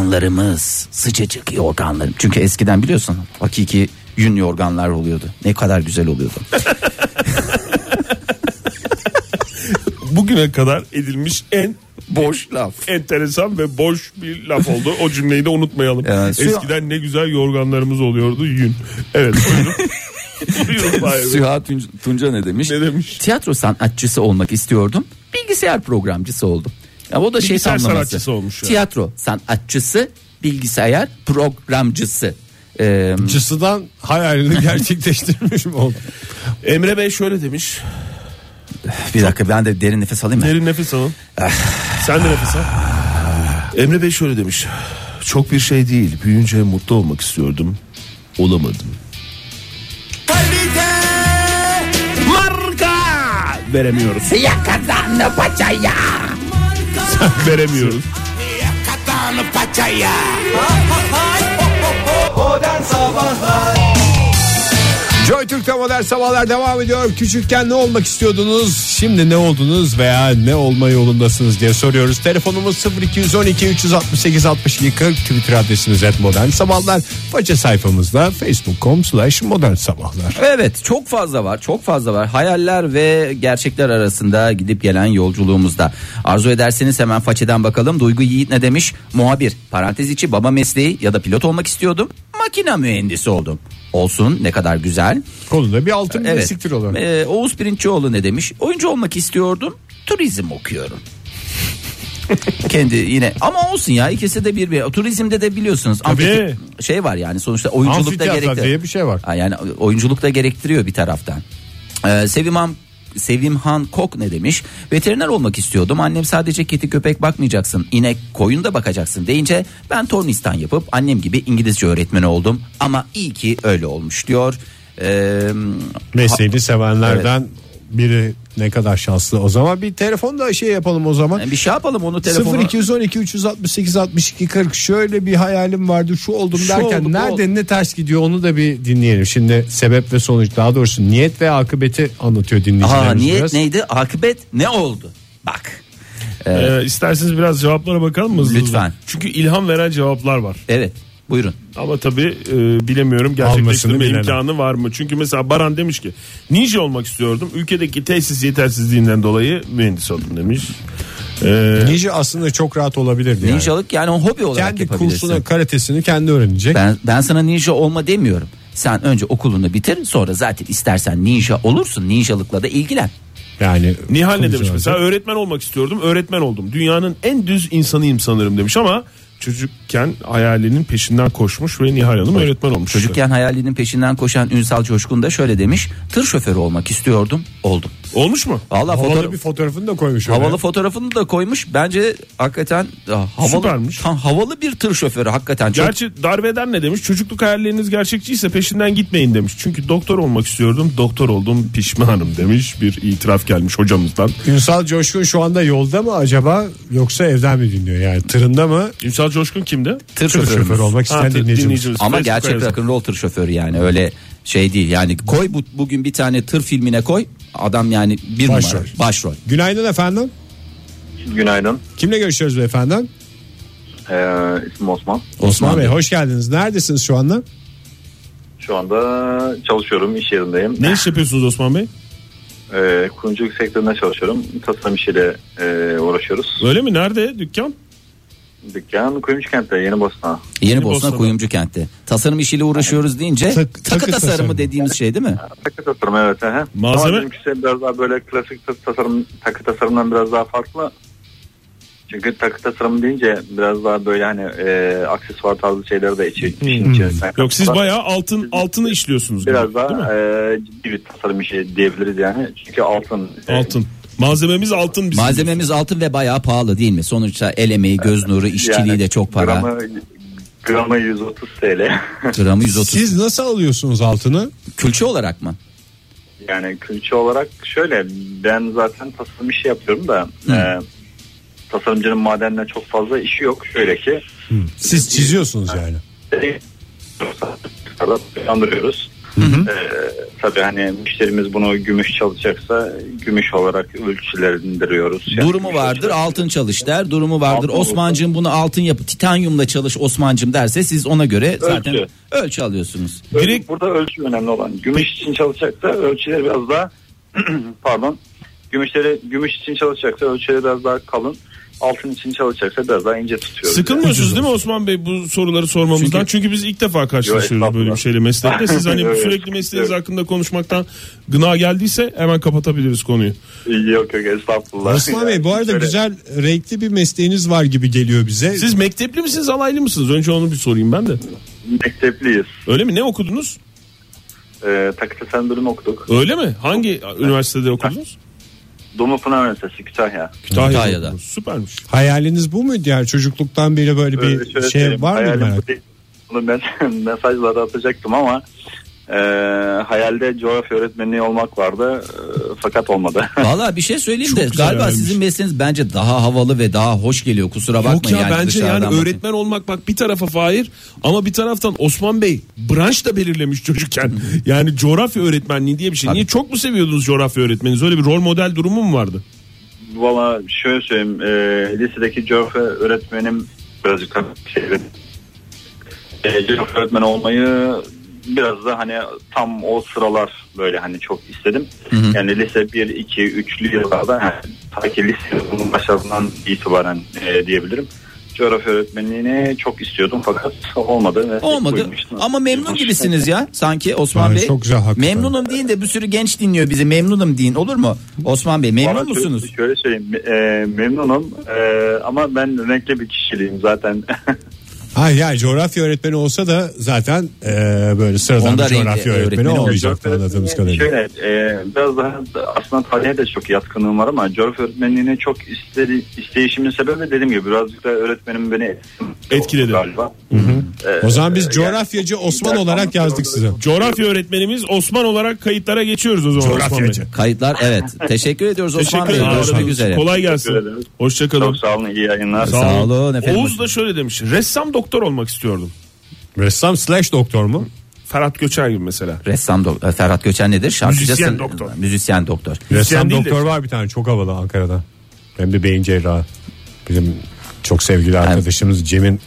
[SPEAKER 3] Yorganlarımız sıcacık yorganlarım. Çünkü eskiden biliyorsun hakiki yün yorganlar oluyordu. Ne kadar güzel oluyordu.
[SPEAKER 2] Bugüne kadar edilmiş en
[SPEAKER 3] Boş laf.
[SPEAKER 2] enteresan ve boş bir laf oldu. O cümleyi de unutmayalım.
[SPEAKER 3] Yani suya-
[SPEAKER 2] Eskiden ne güzel yorganlarımız oluyordu yün. Evet buyurun. buyurun Fahir Bey.
[SPEAKER 3] Süha Tunca, Tunca ne demiş?
[SPEAKER 2] Ne demiş?
[SPEAKER 3] Tiyatro sanatçısı olmak istiyordum. Bilgisayar programcısı oldum. Ya o da şey
[SPEAKER 2] Bilgisayar
[SPEAKER 3] tamlaması.
[SPEAKER 2] sanatçısı olmuş yani.
[SPEAKER 3] Tiyatro sanatçısı, bilgisayar programcısı. Ee,
[SPEAKER 4] Cısıdan hayalini gerçekleştirmiş mi oldu?
[SPEAKER 2] Emre Bey şöyle demiş.
[SPEAKER 3] bir dakika ben de derin nefes alayım mı?
[SPEAKER 2] Derin nefes alın. Sen de nefes al. Emre Bey şöyle demiş. Çok bir şey değil. Büyüyünce mutlu olmak istiyordum. Olamadım.
[SPEAKER 1] Kalite
[SPEAKER 2] Marka! Veremiyoruz.
[SPEAKER 3] Yakadan paçaya.
[SPEAKER 2] Veremiyoruz.
[SPEAKER 1] Modern Sabahlar
[SPEAKER 4] Joy Türk'te modern sabahlar devam ediyor. Küçükken ne olmak istiyordunuz? Şimdi ne oldunuz veya ne olma yolundasınız diye soruyoruz. Telefonumuz 0212 368 62 40. Twitter adresimiz et modern sabahlar. Faça sayfamızda facebook.com slash modern sabahlar.
[SPEAKER 3] Evet çok fazla var çok fazla var hayaller ve gerçekler arasında gidip gelen yolculuğumuzda arzu ederseniz hemen façeden bakalım Duygu Yiğit ne demiş muhabir parantez içi baba mesleği ya da pilot olmak istiyordum makina mühendisi oldum olsun ne kadar güzel
[SPEAKER 4] Kolunda bir altın bir
[SPEAKER 3] evet
[SPEAKER 4] siktir olan.
[SPEAKER 3] Ee, Oğuz Pirinçoğlu ne demiş oyuncu olmak istiyordum turizm okuyorum kendi yine ama olsun ya ikisi de bir, bir. turizmde de biliyorsunuz amfi- şey var yani sonuçta oyunculukta
[SPEAKER 4] Amfiteyatro
[SPEAKER 3] gerekli
[SPEAKER 4] diye bir şey var.
[SPEAKER 3] Ha, Yani oyunculuk da gerektiriyor bir taraftan. Ee, Sevimhan Sevimhan Kok ne demiş? Veteriner olmak istiyordum. Annem sadece kedi köpek bakmayacaksın. İnek koyun da bakacaksın deyince ben tornistan yapıp annem gibi İngilizce öğretmeni oldum. Ama iyi ki öyle olmuş diyor. Ee,
[SPEAKER 4] Mesleğini sevenlerden biri ne kadar şanslı. O zaman bir telefon da şey yapalım o zaman.
[SPEAKER 3] bir şey yapalım onu telefonu.
[SPEAKER 4] 0212 368 62 40 şöyle bir hayalim vardı şu oldum
[SPEAKER 3] Şu
[SPEAKER 4] derken
[SPEAKER 3] oldu, bu
[SPEAKER 4] nerede
[SPEAKER 3] oldu.
[SPEAKER 4] ne ters gidiyor onu da bir dinleyelim. Şimdi sebep ve sonuç daha doğrusu niyet ve akıbeti anlatıyor
[SPEAKER 3] Aha,
[SPEAKER 4] dinleyicilerimiz
[SPEAKER 3] niyet
[SPEAKER 4] biraz.
[SPEAKER 3] neydi? Akıbet ne oldu? Bak.
[SPEAKER 2] Ee, isterseniz biraz cevaplara bakalım mı? hızlı hızlı?
[SPEAKER 3] Lütfen.
[SPEAKER 2] Çünkü ilham veren cevaplar var.
[SPEAKER 3] Evet. Buyurun.
[SPEAKER 2] Ama tabii e, bilemiyorum gerçekleştirme
[SPEAKER 4] Almasını bilelim.
[SPEAKER 2] imkanı var mı? Çünkü mesela Baran demiş ki ninja olmak istiyordum. Ülkedeki tesis yetersizliğinden dolayı mühendis oldum demiş. Ee,
[SPEAKER 4] Ninja aslında çok rahat olabilirdi yani.
[SPEAKER 3] Ninjalık yani o hobi olarak
[SPEAKER 4] kendi
[SPEAKER 3] yapabilirsin.
[SPEAKER 4] kursuna karatesini kendi öğrenecek.
[SPEAKER 3] Ben ben sana ninja olma demiyorum. Sen önce okulunu bitir sonra zaten istersen ninja olursun. Ninjalıkla da ilgilen.
[SPEAKER 4] Yani
[SPEAKER 2] Nihal ne
[SPEAKER 4] sonucu
[SPEAKER 2] demiş
[SPEAKER 4] olarak.
[SPEAKER 2] mesela öğretmen olmak istiyordum öğretmen oldum. Dünyanın en düz insanıyım sanırım demiş ama çocukken hayalinin peşinden koşmuş ve Nihal Hanım öğretmen olmuş.
[SPEAKER 3] Çocukken hayalinin peşinden koşan Ünsal Coşkun da şöyle demiş. Tır şoförü olmak istiyordum. Oldum.
[SPEAKER 2] Olmuş mu?
[SPEAKER 3] Valla
[SPEAKER 4] Havalı
[SPEAKER 3] fotoğraf,
[SPEAKER 4] bir fotoğrafını da koymuş. oraya.
[SPEAKER 3] havalı fotoğrafını da koymuş. Bence hakikaten e, havalı
[SPEAKER 2] Süpermiş.
[SPEAKER 3] tam havalı bir tır şoförü hakikaten çok
[SPEAKER 2] Gerçi darbeden ne demiş? Çocukluk hayalleriniz gerçekçiyse peşinden gitmeyin demiş. Çünkü doktor olmak istiyordum. Doktor oldum pişmanım demiş. Bir itiraf gelmiş hocamızdan.
[SPEAKER 4] Ünsal Coşkun şu anda yolda mı acaba yoksa evden mi dinliyor yani tırında mı
[SPEAKER 2] Ünsal Coşkun kimdi?
[SPEAKER 3] tır,
[SPEAKER 4] tır
[SPEAKER 3] şoförümüz.
[SPEAKER 4] şoförü olmak isteyen
[SPEAKER 2] Ha, t-
[SPEAKER 4] dinleyicimiz.
[SPEAKER 3] Ama
[SPEAKER 2] Facebook'a
[SPEAKER 3] gerçek
[SPEAKER 2] yazın.
[SPEAKER 3] rock'n'roll tır şoförü yani öyle şey değil. Yani koy bu, bugün bir tane tır filmine koy. Adam yani bir
[SPEAKER 4] Başrol.
[SPEAKER 3] numara. Başrol.
[SPEAKER 4] Günaydın efendim.
[SPEAKER 5] Günaydın.
[SPEAKER 4] Kimle görüşüyoruz beyefendi?
[SPEAKER 5] Ee, ismim Osman.
[SPEAKER 4] Osman Bey hoş geldiniz. Neredesiniz şu anda?
[SPEAKER 5] Şu anda çalışıyorum, iş yerindeyim.
[SPEAKER 2] Ne iş yapıyorsunuz Osman Bey?
[SPEAKER 5] Ee, kuyumculuk sektöründe çalışıyorum. Tasarım işiyle e, uğraşıyoruz.
[SPEAKER 2] Öyle mi? Nerede dükkan?
[SPEAKER 5] Dükkan Kuyumcu kentte, Yeni Bosna.
[SPEAKER 3] Yeni Bosna
[SPEAKER 2] Bosna'da.
[SPEAKER 3] Kuyumcu kentte. Tasarım işiyle uğraşıyoruz deyince
[SPEAKER 4] Tak-
[SPEAKER 3] takı,
[SPEAKER 4] takı
[SPEAKER 3] tasarımı,
[SPEAKER 4] tasarımı.
[SPEAKER 3] dediğimiz şey değil mi?
[SPEAKER 5] Takı tasarım evet. He.
[SPEAKER 2] Malzeme?
[SPEAKER 5] Ama bizimkisi biraz daha böyle klasik tas- tasarım, takı tasarımdan biraz daha farklı. Çünkü takı tasarım deyince biraz daha böyle hani e, aksesuar tarzı şeyleri de içi, işin içerisine
[SPEAKER 2] Hmm. Yok siz
[SPEAKER 5] katıyorlar.
[SPEAKER 2] bayağı altın altını işliyorsunuz.
[SPEAKER 5] Biraz
[SPEAKER 2] gibi, değil mi?
[SPEAKER 5] daha e, ciddi bir tasarım işi diyebiliriz yani. Çünkü altın. e,
[SPEAKER 2] Altın. Malzememiz altın bizim.
[SPEAKER 3] Malzememiz altın ve bayağı pahalı değil mi? Sonuçta el emeği, göz nuru, işçiliği
[SPEAKER 5] yani
[SPEAKER 3] de çok para. Gramı,
[SPEAKER 5] Gramı, gramı 130 TL.
[SPEAKER 3] 130.
[SPEAKER 4] Siz nasıl alıyorsunuz altını?
[SPEAKER 3] Külçe olarak mı?
[SPEAKER 5] Yani külçe olarak şöyle ben zaten tasarım işi yapıyorum da e, tasarımcının madenle çok fazla işi yok. Şöyle ki e,
[SPEAKER 4] Siz çiziyorsunuz yani.
[SPEAKER 5] andırıyoruz. E, tabii hani müşterimiz bunu gümüş çalışacaksa gümüş olarak ölçülendiriyoruz. Yani
[SPEAKER 3] durumu
[SPEAKER 5] gümüş
[SPEAKER 3] vardır,
[SPEAKER 5] ölçüler-
[SPEAKER 3] altın çalış der. Durumu vardır.
[SPEAKER 5] Altın
[SPEAKER 3] Osmancığım bunu altın yapı titanyumla çalış Osmancığım derse siz ona göre zaten
[SPEAKER 5] Ölçü.
[SPEAKER 3] ölçü alıyorsunuz.
[SPEAKER 5] Ölçü-
[SPEAKER 2] Direkt-
[SPEAKER 5] Burada ölçü önemli olan. Gümüş için çalışacaksa ölçüleri biraz daha pardon. Gümüşleri gümüş için çalışacaksa ölçüleri biraz daha kalın. Altın için çalışacaksa biraz daha ince tutuyoruz.
[SPEAKER 2] Sıkılmıyorsunuz değil mi Osman Bey bu soruları sormamızdan? Çünkü, biz ilk defa karşılaşıyoruz
[SPEAKER 5] estağfurullah.
[SPEAKER 2] böyle bir şeyle meslekte. Siz hani
[SPEAKER 5] Evet.
[SPEAKER 2] sürekli mesleğiniz
[SPEAKER 5] Evet.
[SPEAKER 2] hakkında konuşmaktan gına geldiyse hemen kapatabiliriz konuyu.
[SPEAKER 5] Yani. Yok yok estağfurullah.
[SPEAKER 4] Osman Bey bu
[SPEAKER 5] Yani
[SPEAKER 4] arada
[SPEAKER 5] şöyle-
[SPEAKER 4] güzel renkli bir mesleğiniz var gibi geliyor bize.
[SPEAKER 2] Siz mektepli misiniz alaylı mısınız? Önce onu bir sorayım ben de.
[SPEAKER 5] Mektepliyiz.
[SPEAKER 2] Öyle mi? Ne okudunuz?
[SPEAKER 5] Ee, takı tasarım bölümü okuduk.
[SPEAKER 2] Öyle mi? Hangi üniversitede okudunuz?
[SPEAKER 5] Dumlupınar Üniversitesi Kütahya.
[SPEAKER 3] Kütahya'da.
[SPEAKER 2] okudunuz. Süpermiş.
[SPEAKER 4] Hayaliniz bu muydu yani çocukluktan beri böyle
[SPEAKER 5] Öyle
[SPEAKER 4] bir
[SPEAKER 5] şöyle
[SPEAKER 4] şey
[SPEAKER 5] söyleyeyim,
[SPEAKER 4] var mı
[SPEAKER 5] hayalim
[SPEAKER 4] merak?
[SPEAKER 5] bu değil. Bunu ben mesajla da atacaktım ama Ee, hayalde coğrafya öğretmeni olmak vardı Ee, fakat olmadı.
[SPEAKER 3] Valla bir şey söyleyeyim de
[SPEAKER 2] güzel
[SPEAKER 3] galiba
[SPEAKER 2] vermiş.
[SPEAKER 3] sizin mesleğiniz bence daha havalı ve daha hoş geliyor. Kusura bakmayın.
[SPEAKER 2] Yok ya
[SPEAKER 3] yani
[SPEAKER 2] bence
[SPEAKER 3] dışarıdan
[SPEAKER 2] yani
[SPEAKER 3] bakın.
[SPEAKER 2] öğretmen olmak bak bir tarafa Fahir ama bir taraftan Osman Bey branş da belirlemiş çocukken. yani coğrafya öğretmenliği diye bir şey. Niye çok mu seviyordunuz coğrafya öğretmeniniz? Öyle bir rol model durumu mu vardı?
[SPEAKER 5] Valla şöyle söyleyeyim e, lisedeki coğrafya öğretmenim birazcık tabii şey, e, coğrafya öğretmeni olmayı biraz da hani tam o sıralar böyle hani çok istedim. Yani lise 1, 2, 3'lü yıllarda yani, ta ki lise bunun başlarından itibaren e, diyebilirim. Coğrafya öğretmenliğini çok istiyordum fakat olmadı. ve
[SPEAKER 3] Olmadı
[SPEAKER 5] buyurmuştum.
[SPEAKER 3] ama memnun gibisiniz ya sanki Osman
[SPEAKER 4] Ben
[SPEAKER 3] Bey.
[SPEAKER 4] çok rahat.
[SPEAKER 3] Memnunum deyin de bir sürü genç dinliyor bizi memnunum deyin olur mu? Osman Bey memnun
[SPEAKER 5] Valla şö-
[SPEAKER 3] musunuz?
[SPEAKER 5] Şöyle söyleyeyim e, memnunum e, ama ben renkli bir kişiliğim zaten.
[SPEAKER 4] Ha ya coğrafya öğretmeni olsa da zaten e, böyle sıradan
[SPEAKER 3] Onda
[SPEAKER 4] bir
[SPEAKER 3] renkli
[SPEAKER 4] coğrafya öğretmeni
[SPEAKER 3] öğretmeni
[SPEAKER 4] olmayacaktı anladığımız kadarıyla.
[SPEAKER 5] Şöyle e, biraz daha da- aslında tarihe de çok yatkınlığım var ama coğrafya öğretmenliğine çok istedi, isteyişimin sebebi dediğim gibi birazcık da öğretmenim beni
[SPEAKER 2] Etkiledi.
[SPEAKER 5] galiba. E,
[SPEAKER 4] O zaman biz
[SPEAKER 5] e,
[SPEAKER 4] coğrafyacı Osman
[SPEAKER 5] yani-
[SPEAKER 4] olarak yazdık size.
[SPEAKER 2] Coğrafya öğretmenimiz Osman olarak kayıtlara geçiyoruz o zaman Osman Bey.
[SPEAKER 4] Coğrafyacı.
[SPEAKER 3] Kayıtlar evet teşekkür ediyoruz Osman
[SPEAKER 2] Teşekkür
[SPEAKER 3] Bey
[SPEAKER 2] ederim.
[SPEAKER 3] görüşmek
[SPEAKER 2] Aradığınız
[SPEAKER 3] üzere.
[SPEAKER 2] için. Kolay
[SPEAKER 5] Teşekkür
[SPEAKER 2] gelsin.
[SPEAKER 5] ederiz.
[SPEAKER 2] Hoşçakalın.
[SPEAKER 5] Çok sağ olun iyi yayınlar.
[SPEAKER 3] Sağ olun efendim.
[SPEAKER 2] Oğuz da şöyle demiş. Ressam doktor olmak istiyordum.
[SPEAKER 4] Ressam slash doktor mu?
[SPEAKER 2] Ferhat Göçer gibi mesela.
[SPEAKER 3] Ressam do- e, Ferhat Göçen nedir? Şarkıcı
[SPEAKER 2] Müzisyen
[SPEAKER 3] sın-
[SPEAKER 2] doktor.
[SPEAKER 3] Müzisyen doktor.
[SPEAKER 4] Ressam
[SPEAKER 2] değil de-
[SPEAKER 4] doktor var bir tane çok havalı Ankara'da. Hem de beyin cerrahı. Bizim çok sevgili arkadaşımız Cem'in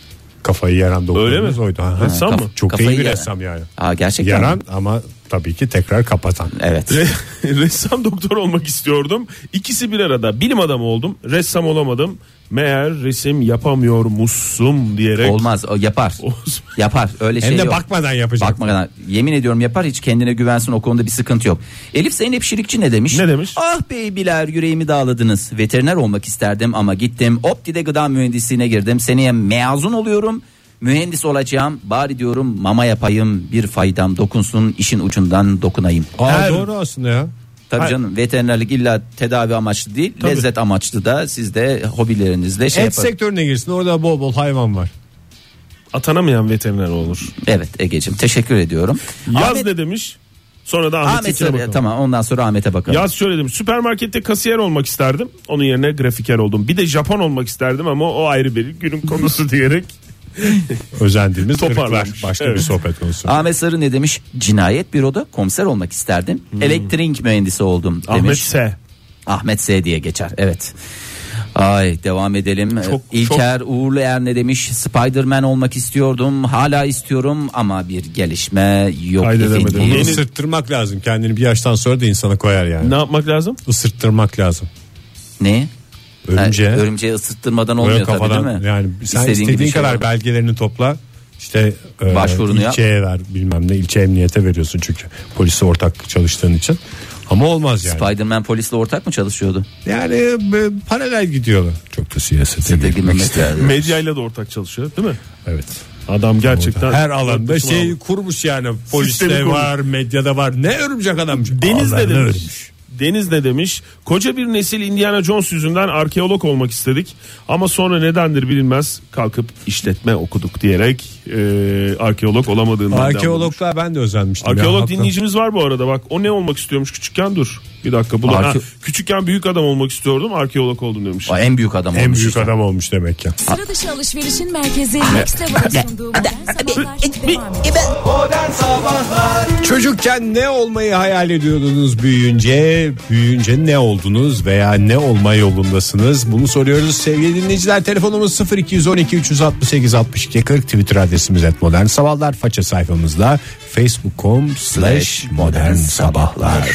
[SPEAKER 4] kafayı yaran doktorumuz
[SPEAKER 2] mi?
[SPEAKER 4] oydu. Ha, ha.
[SPEAKER 2] Ressam mı?
[SPEAKER 4] Çok
[SPEAKER 3] Kafayı
[SPEAKER 4] iyi bir
[SPEAKER 3] yaran.
[SPEAKER 4] ressam yani.
[SPEAKER 3] Aa, gerçekten mi?
[SPEAKER 4] Yaran ama tabii ki tekrar kapatan.
[SPEAKER 3] Evet.
[SPEAKER 2] Re- Ressam doktor olmak istiyordum. İkisi bir arada. Bilim adamı oldum. Ressam olamadım. Meğer resim yapamıyor musum diyerek.
[SPEAKER 3] Olmaz o yapar.
[SPEAKER 2] Olsun.
[SPEAKER 3] Yapar öyle şey
[SPEAKER 4] Hem de
[SPEAKER 3] yok.
[SPEAKER 4] bakmadan yapacak.
[SPEAKER 3] Bakmadan yemin ediyorum yapar hiç kendine güvensin o konuda bir sıkıntı yok. Elif Zeynep Şirikçi ne demiş?
[SPEAKER 2] Ne demiş?
[SPEAKER 3] Ah beybiler yüreğimi dağladınız. Veteriner olmak isterdim ama gittim Opti'de gıda mühendisliğine girdim. Seneye mezun oluyorum. Mühendis olacağım. Bari diyorum mama yapayım. Bir faydam dokunsun. işin ucundan dokunayım.
[SPEAKER 4] Aa,
[SPEAKER 2] Her-
[SPEAKER 4] doğru aslında ya.
[SPEAKER 3] Tabii
[SPEAKER 2] Hayır.
[SPEAKER 3] canım veterinerlik illa tedavi amaçlı değil. Lezzet amaçlı da siz de hobilerinizle şey
[SPEAKER 4] Et
[SPEAKER 3] yapın.
[SPEAKER 4] sektörüne girsin orada bol bol hayvan var.
[SPEAKER 2] Atanamayan veteriner olur.
[SPEAKER 3] Evet Ege'cim teşekkür ediyorum.
[SPEAKER 2] Yaz
[SPEAKER 3] Ahmet,
[SPEAKER 2] ne demiş? Sonra da
[SPEAKER 3] Ahmet
[SPEAKER 2] Ahmet'inkine
[SPEAKER 3] Sarı-
[SPEAKER 2] bakalım.
[SPEAKER 3] tamam ondan sonra Ahmet'e bakalım.
[SPEAKER 2] Yaz şöyle demiş. Süpermarkette kasiyer olmak isterdim. Onun yerine grafiker oldum. Bir de Japon olmak isterdim ama o ayrı bir günün konusu diyerek.
[SPEAKER 4] Özendiğimiz
[SPEAKER 2] Toparlanmış.
[SPEAKER 4] ırklar. Başka
[SPEAKER 2] Evet.
[SPEAKER 4] bir sohbet konusu.
[SPEAKER 3] Ahmet Sarı ne demiş? Cinayet büroda komiser olmak isterdim.
[SPEAKER 4] Hmm.
[SPEAKER 3] Elektrik mühendisi oldum demiş.
[SPEAKER 2] Ahmet S.
[SPEAKER 3] Ahmet S diye geçer. Evet. Ay devam edelim.
[SPEAKER 2] Çok-
[SPEAKER 3] İlker Uğurlu Er ne demiş? Spider-Man olmak istiyordum. Hala istiyorum ama bir gelişme yok
[SPEAKER 2] Kaydedemedim.
[SPEAKER 3] efendim.
[SPEAKER 4] Onu
[SPEAKER 2] Yeni-
[SPEAKER 4] ısırttırmak lazım. Kendini bir yaştan sonra da insana koyar yani.
[SPEAKER 2] Ne yapmak lazım?
[SPEAKER 4] Isırttırmak lazım.
[SPEAKER 3] Ne?
[SPEAKER 4] Örümceğe.
[SPEAKER 3] Ha, örümceği ısıttırmadan
[SPEAKER 4] Böyle
[SPEAKER 3] olmuyor tabii
[SPEAKER 4] kafadan
[SPEAKER 3] değil mi?
[SPEAKER 4] yani sen
[SPEAKER 3] İstediğin
[SPEAKER 4] istediğin,
[SPEAKER 3] gibi şey
[SPEAKER 4] kadar
[SPEAKER 3] yap.
[SPEAKER 4] belgelerini topla. İşte e,
[SPEAKER 3] Başvurunu yap.
[SPEAKER 4] ilçeye ver bilmem ne ilçe emniyete veriyorsun çünkü polise ortak çalıştığın için. Ama olmaz yani.
[SPEAKER 3] Spider-Man polisle ortak mı çalışıyordu?
[SPEAKER 4] yani e, paralel gidiyorlar. Çok da siyasete
[SPEAKER 3] Dedi
[SPEAKER 4] girmek
[SPEAKER 3] girmemek
[SPEAKER 4] istemiyorum.
[SPEAKER 3] lazım.
[SPEAKER 2] Medyayla da ortak çalışıyor değil mi?
[SPEAKER 4] Evet.
[SPEAKER 2] Adam gerçekten.
[SPEAKER 4] Her alanda
[SPEAKER 2] Tamam.
[SPEAKER 4] şey kurmuş yani. Poliste
[SPEAKER 2] kurmuş.
[SPEAKER 4] var, medyada var. Ne örümcek adam.
[SPEAKER 2] Deniz ne
[SPEAKER 4] Ağlarını
[SPEAKER 2] demiş?
[SPEAKER 4] örmüş.
[SPEAKER 2] Deniz ne demiş? Koca bir nesil Indiana Jones yüzünden arkeolog olmak istedik ama sonra nedendir bilinmez kalkıp işletme okuduk diyerek e, arkeolog olamadığından.
[SPEAKER 4] Arkeologlar ben de özenmiştim. ya,
[SPEAKER 2] Arkeolog
[SPEAKER 4] haklı.
[SPEAKER 2] dinleyicimiz var bu arada bak o ne olmak istiyormuş küçükken dur bir dakika bulan
[SPEAKER 3] Arke-
[SPEAKER 2] Ha, küçükken büyük adam olmak istiyordum arkeolog oldum demiş.
[SPEAKER 3] O en büyük adam
[SPEAKER 4] En
[SPEAKER 3] olmuş
[SPEAKER 4] büyük
[SPEAKER 3] işte.
[SPEAKER 4] adam olmuş demek ki.
[SPEAKER 6] Sıra dışı alışverişin merkezi Nexteva'nın sunduğu modern sabahlar devam ediyor.
[SPEAKER 4] Çocukken ne olmayı hayal ediyordunuz büyüyünce? Büyüyünce ne oldunuz veya ne olma yolundasınız? Bunu soruyoruz sevgili dinleyiciler. Telefonumuz 0212 368 62 40 Twitter adresimiz et modern sabahlar. Faça sayfamızda facebook.com slash modern sabahlar.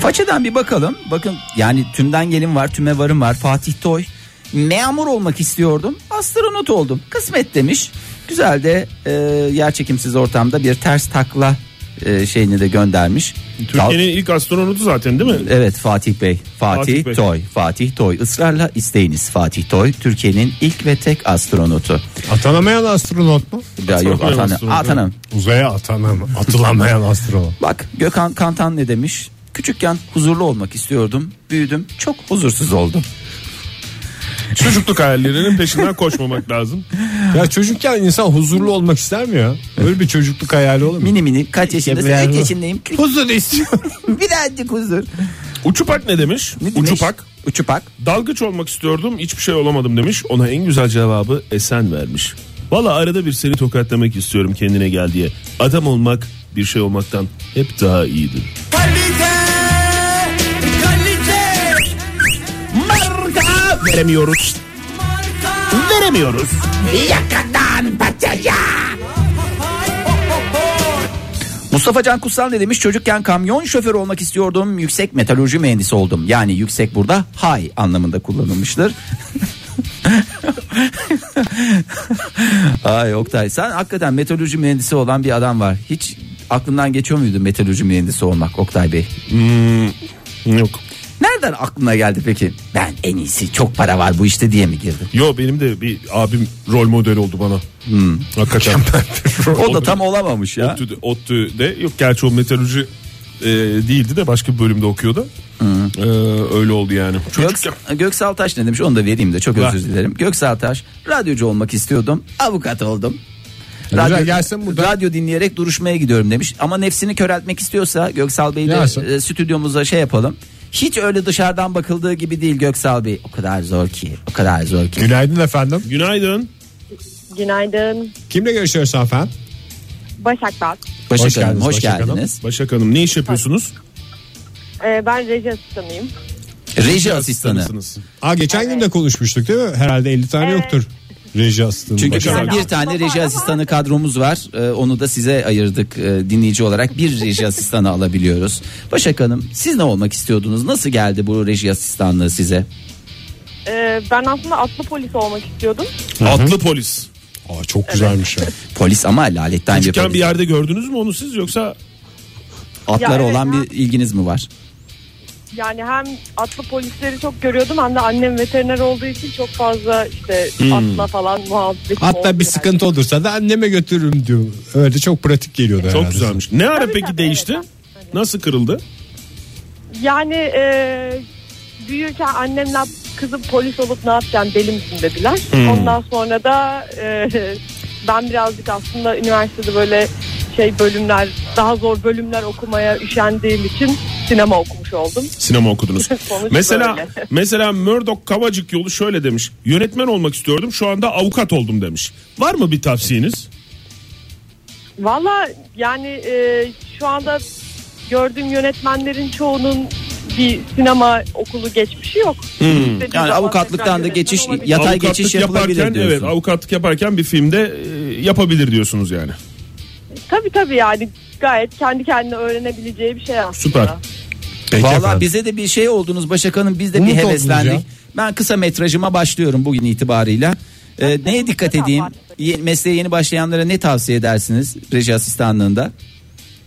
[SPEAKER 3] Façadan bir bakalım. Bakın yani tümden gelin var, tüme varım var. Fatih Toy. Memur olmak istiyordum. Astronot oldum. Kısmet demiş. Güzel de e, yerçekimsiz ortamda bir ters takla e, şeyini de göndermiş. Dal-
[SPEAKER 2] Türkiye'nin ilk astronotu zaten değil mi?
[SPEAKER 3] Evet Fatih Bey. Fatih,
[SPEAKER 2] Fatih Bey.
[SPEAKER 3] Toy. Fatih Toy. Israrla isteyiniz Fatih Toy. Türkiye'nin ilk ve tek astronotu.
[SPEAKER 4] Atanamayan astronot mu?
[SPEAKER 3] Ya yok
[SPEAKER 2] Atanamayan
[SPEAKER 3] Atanım.
[SPEAKER 2] astronot,
[SPEAKER 3] Atanım.
[SPEAKER 4] Uzaya atanam, atılamayan astronot.
[SPEAKER 3] Bak Gökhan Kantan ne demiş? Küçükken huzurlu olmak istiyordum. Büyüdüm. Çok huzursuz oldum.
[SPEAKER 2] Çocukluk hayallerinin peşinden koşmamak lazım.
[SPEAKER 4] Ya çocukken insan huzurlu olmak ister mi ya? Böyle bir çocukluk hayali olur mu?
[SPEAKER 3] Mini mini kaç yaşındasın?
[SPEAKER 4] ben-
[SPEAKER 3] Kaç yaşındayım?
[SPEAKER 4] Huzur istiyorum.
[SPEAKER 3] Birazcık huzur.
[SPEAKER 2] Uçupak ne demiş?
[SPEAKER 3] Ne demiş?
[SPEAKER 2] Uçupak.
[SPEAKER 3] Uçupak.
[SPEAKER 2] Dalgıç olmak istiyordum hiçbir şey olamadım demiş. Ona en güzel cevabı Esen vermiş. Valla arada bir seni tokatlamak istiyorum kendine gel diye. Adam olmak bir şey olmaktan hep daha iyidir.
[SPEAKER 1] kalite, kalite,
[SPEAKER 2] Marka veremiyoruz. Veremiyoruz.
[SPEAKER 3] Mustafa Can Kutsal ne demiş? Çocukken kamyon şoförü olmak istiyordum. Yüksek metalurji mühendisi oldum. Yani yüksek burada high anlamında kullanılmıştır. Ay Oktay sen hakikaten metalurji mühendisi olan bir adam var. Hiç aklından geçiyor muydu metalurji mühendisi olmak Oktay Bey?
[SPEAKER 2] Yok.
[SPEAKER 3] Nereden aklına geldi peki? Ben en iyisi çok para var bu işte diye mi girdin?
[SPEAKER 2] Yo benim de bir abim rol model oldu bana. Hakikaten.
[SPEAKER 3] O da tam olamamış ya.
[SPEAKER 2] ODTÜ'de, ODTÜ'de yok gerçi o meteoroloji e, değildi de başka bir bölümde okuyordu. E, öyle oldu yani. Çocukken.
[SPEAKER 3] Göks- Göksal Taş ne demiş onu da vereyim de çok
[SPEAKER 2] Ver.
[SPEAKER 3] özür dilerim. Göksal Taş radyocu olmak istiyordum avukat oldum.
[SPEAKER 4] E, Güzel, gelsin buradan.
[SPEAKER 3] radyo dinleyerek duruşmaya gidiyorum demiş. Ama nefsini köreltmek istiyorsa Göksal Bey de
[SPEAKER 4] Gelsin.
[SPEAKER 3] e, stüdyomuza şey yapalım. Hiç öyle dışarıdan bakıldığı gibi değil Göksal Bey. O kadar zor ki o kadar zor ki.
[SPEAKER 4] Günaydın efendim.
[SPEAKER 2] Günaydın.
[SPEAKER 7] Günaydın.
[SPEAKER 4] Kimle görüşüyoruz efendim?
[SPEAKER 7] Başak ben.
[SPEAKER 3] Başak hoş
[SPEAKER 4] Hoş
[SPEAKER 3] Hanım
[SPEAKER 4] geldiniz,
[SPEAKER 3] hoş
[SPEAKER 4] Başak Hanım.
[SPEAKER 3] geldiniz.
[SPEAKER 2] Başak Hanım ne iş yapıyorsunuz?
[SPEAKER 7] Ee, ben reji asistanıyım.
[SPEAKER 3] Reji asistanı.
[SPEAKER 4] Aa, geçen gün de konuşmuştuk değil mi? Herhalde 50 tane
[SPEAKER 7] Evet.
[SPEAKER 4] yoktur. Reji asistanı.
[SPEAKER 3] Çünkü
[SPEAKER 4] Başak
[SPEAKER 3] bizim
[SPEAKER 4] Hanım.
[SPEAKER 3] bir tane reji asistanı kadromuz var. Ee, onu da size ayırdık ee, dinleyici olarak. Bir reji asistanı alabiliyoruz. Başak Hanım siz ne olmak istiyordunuz? Nasıl geldi bu reji asistanlığı size?
[SPEAKER 7] Ee, ben aslında atlı polis olmak istiyordum.
[SPEAKER 2] Atlı polis.
[SPEAKER 4] Aa, çok güzelmiş ya.
[SPEAKER 3] Polis ama laletten bir
[SPEAKER 2] Küçükken
[SPEAKER 3] polis.
[SPEAKER 2] bir yerde gördünüz mü onu siz yoksa
[SPEAKER 3] Atlara
[SPEAKER 7] Ya evet
[SPEAKER 3] olan
[SPEAKER 7] ya.
[SPEAKER 3] bir ilginiz mi var?
[SPEAKER 7] Yani hem atlı polisleri çok görüyordum hem de annem veteriner olduğu için çok fazla işte atla falan muhabbetim oldu
[SPEAKER 4] Hmm. Hatta
[SPEAKER 7] yani.
[SPEAKER 4] bir sıkıntı olursa da anneme götürürüm diyor. Öyle çok pratik geliyordu herhalde.
[SPEAKER 2] çok güzelmiş. Ne ara
[SPEAKER 7] Tabii
[SPEAKER 2] peki
[SPEAKER 7] tabii,
[SPEAKER 2] değişti?
[SPEAKER 7] evet.
[SPEAKER 2] Nasıl kırıldı?
[SPEAKER 7] Yani e, büyürken annemle kızım polis olup ne yapacaksın deli misin dediler.
[SPEAKER 4] Hmm.
[SPEAKER 7] Ondan sonra da e, ben birazcık aslında üniversitede böyle şey bölümler daha zor bölümler okumaya üşendiğim için sinema okumuş oldum.
[SPEAKER 2] Sinema okudunuz.
[SPEAKER 7] Sonuç
[SPEAKER 2] mesela
[SPEAKER 7] böyle.
[SPEAKER 2] mesela Murdoch Kavacık yolu şöyle demiş. Yönetmen olmak istiyordum şu anda avukat oldum demiş. Var mı bir tavsiyeniz?
[SPEAKER 7] Valla yani e, şu anda gördüğüm yönetmenlerin çoğunun bir sinema okulu geçmişi yok.
[SPEAKER 2] Hmm.
[SPEAKER 7] İstediği
[SPEAKER 3] Yani
[SPEAKER 7] zaman tekrar
[SPEAKER 3] avukatlıktan da
[SPEAKER 7] yönetmen
[SPEAKER 3] geçiş
[SPEAKER 7] olabilir.
[SPEAKER 3] yatay
[SPEAKER 2] Avukatlık
[SPEAKER 3] geçiş yapılabilir
[SPEAKER 2] yaparken,
[SPEAKER 3] diyorsun.
[SPEAKER 2] Evet avukatlık yaparken bir filmde e, yapabilir diyorsunuz yani.
[SPEAKER 7] Tabii tabii yani gayet kendi kendine öğrenebileceği bir şey aslında.
[SPEAKER 2] Süper.
[SPEAKER 4] Peki
[SPEAKER 3] Valla
[SPEAKER 4] efendim.
[SPEAKER 3] bize de bir şey oldunuz Başak Hanım biz de
[SPEAKER 4] Umut
[SPEAKER 3] bir
[SPEAKER 4] oldunuz ya.
[SPEAKER 3] heveslendik. Ben kısa metrajıma başlıyorum bugün itibarıyla. Ee, neye dikkat edeyim? Ye- Mesleğe yeni başlayanlara ne tavsiye edersiniz reji asistanlığında?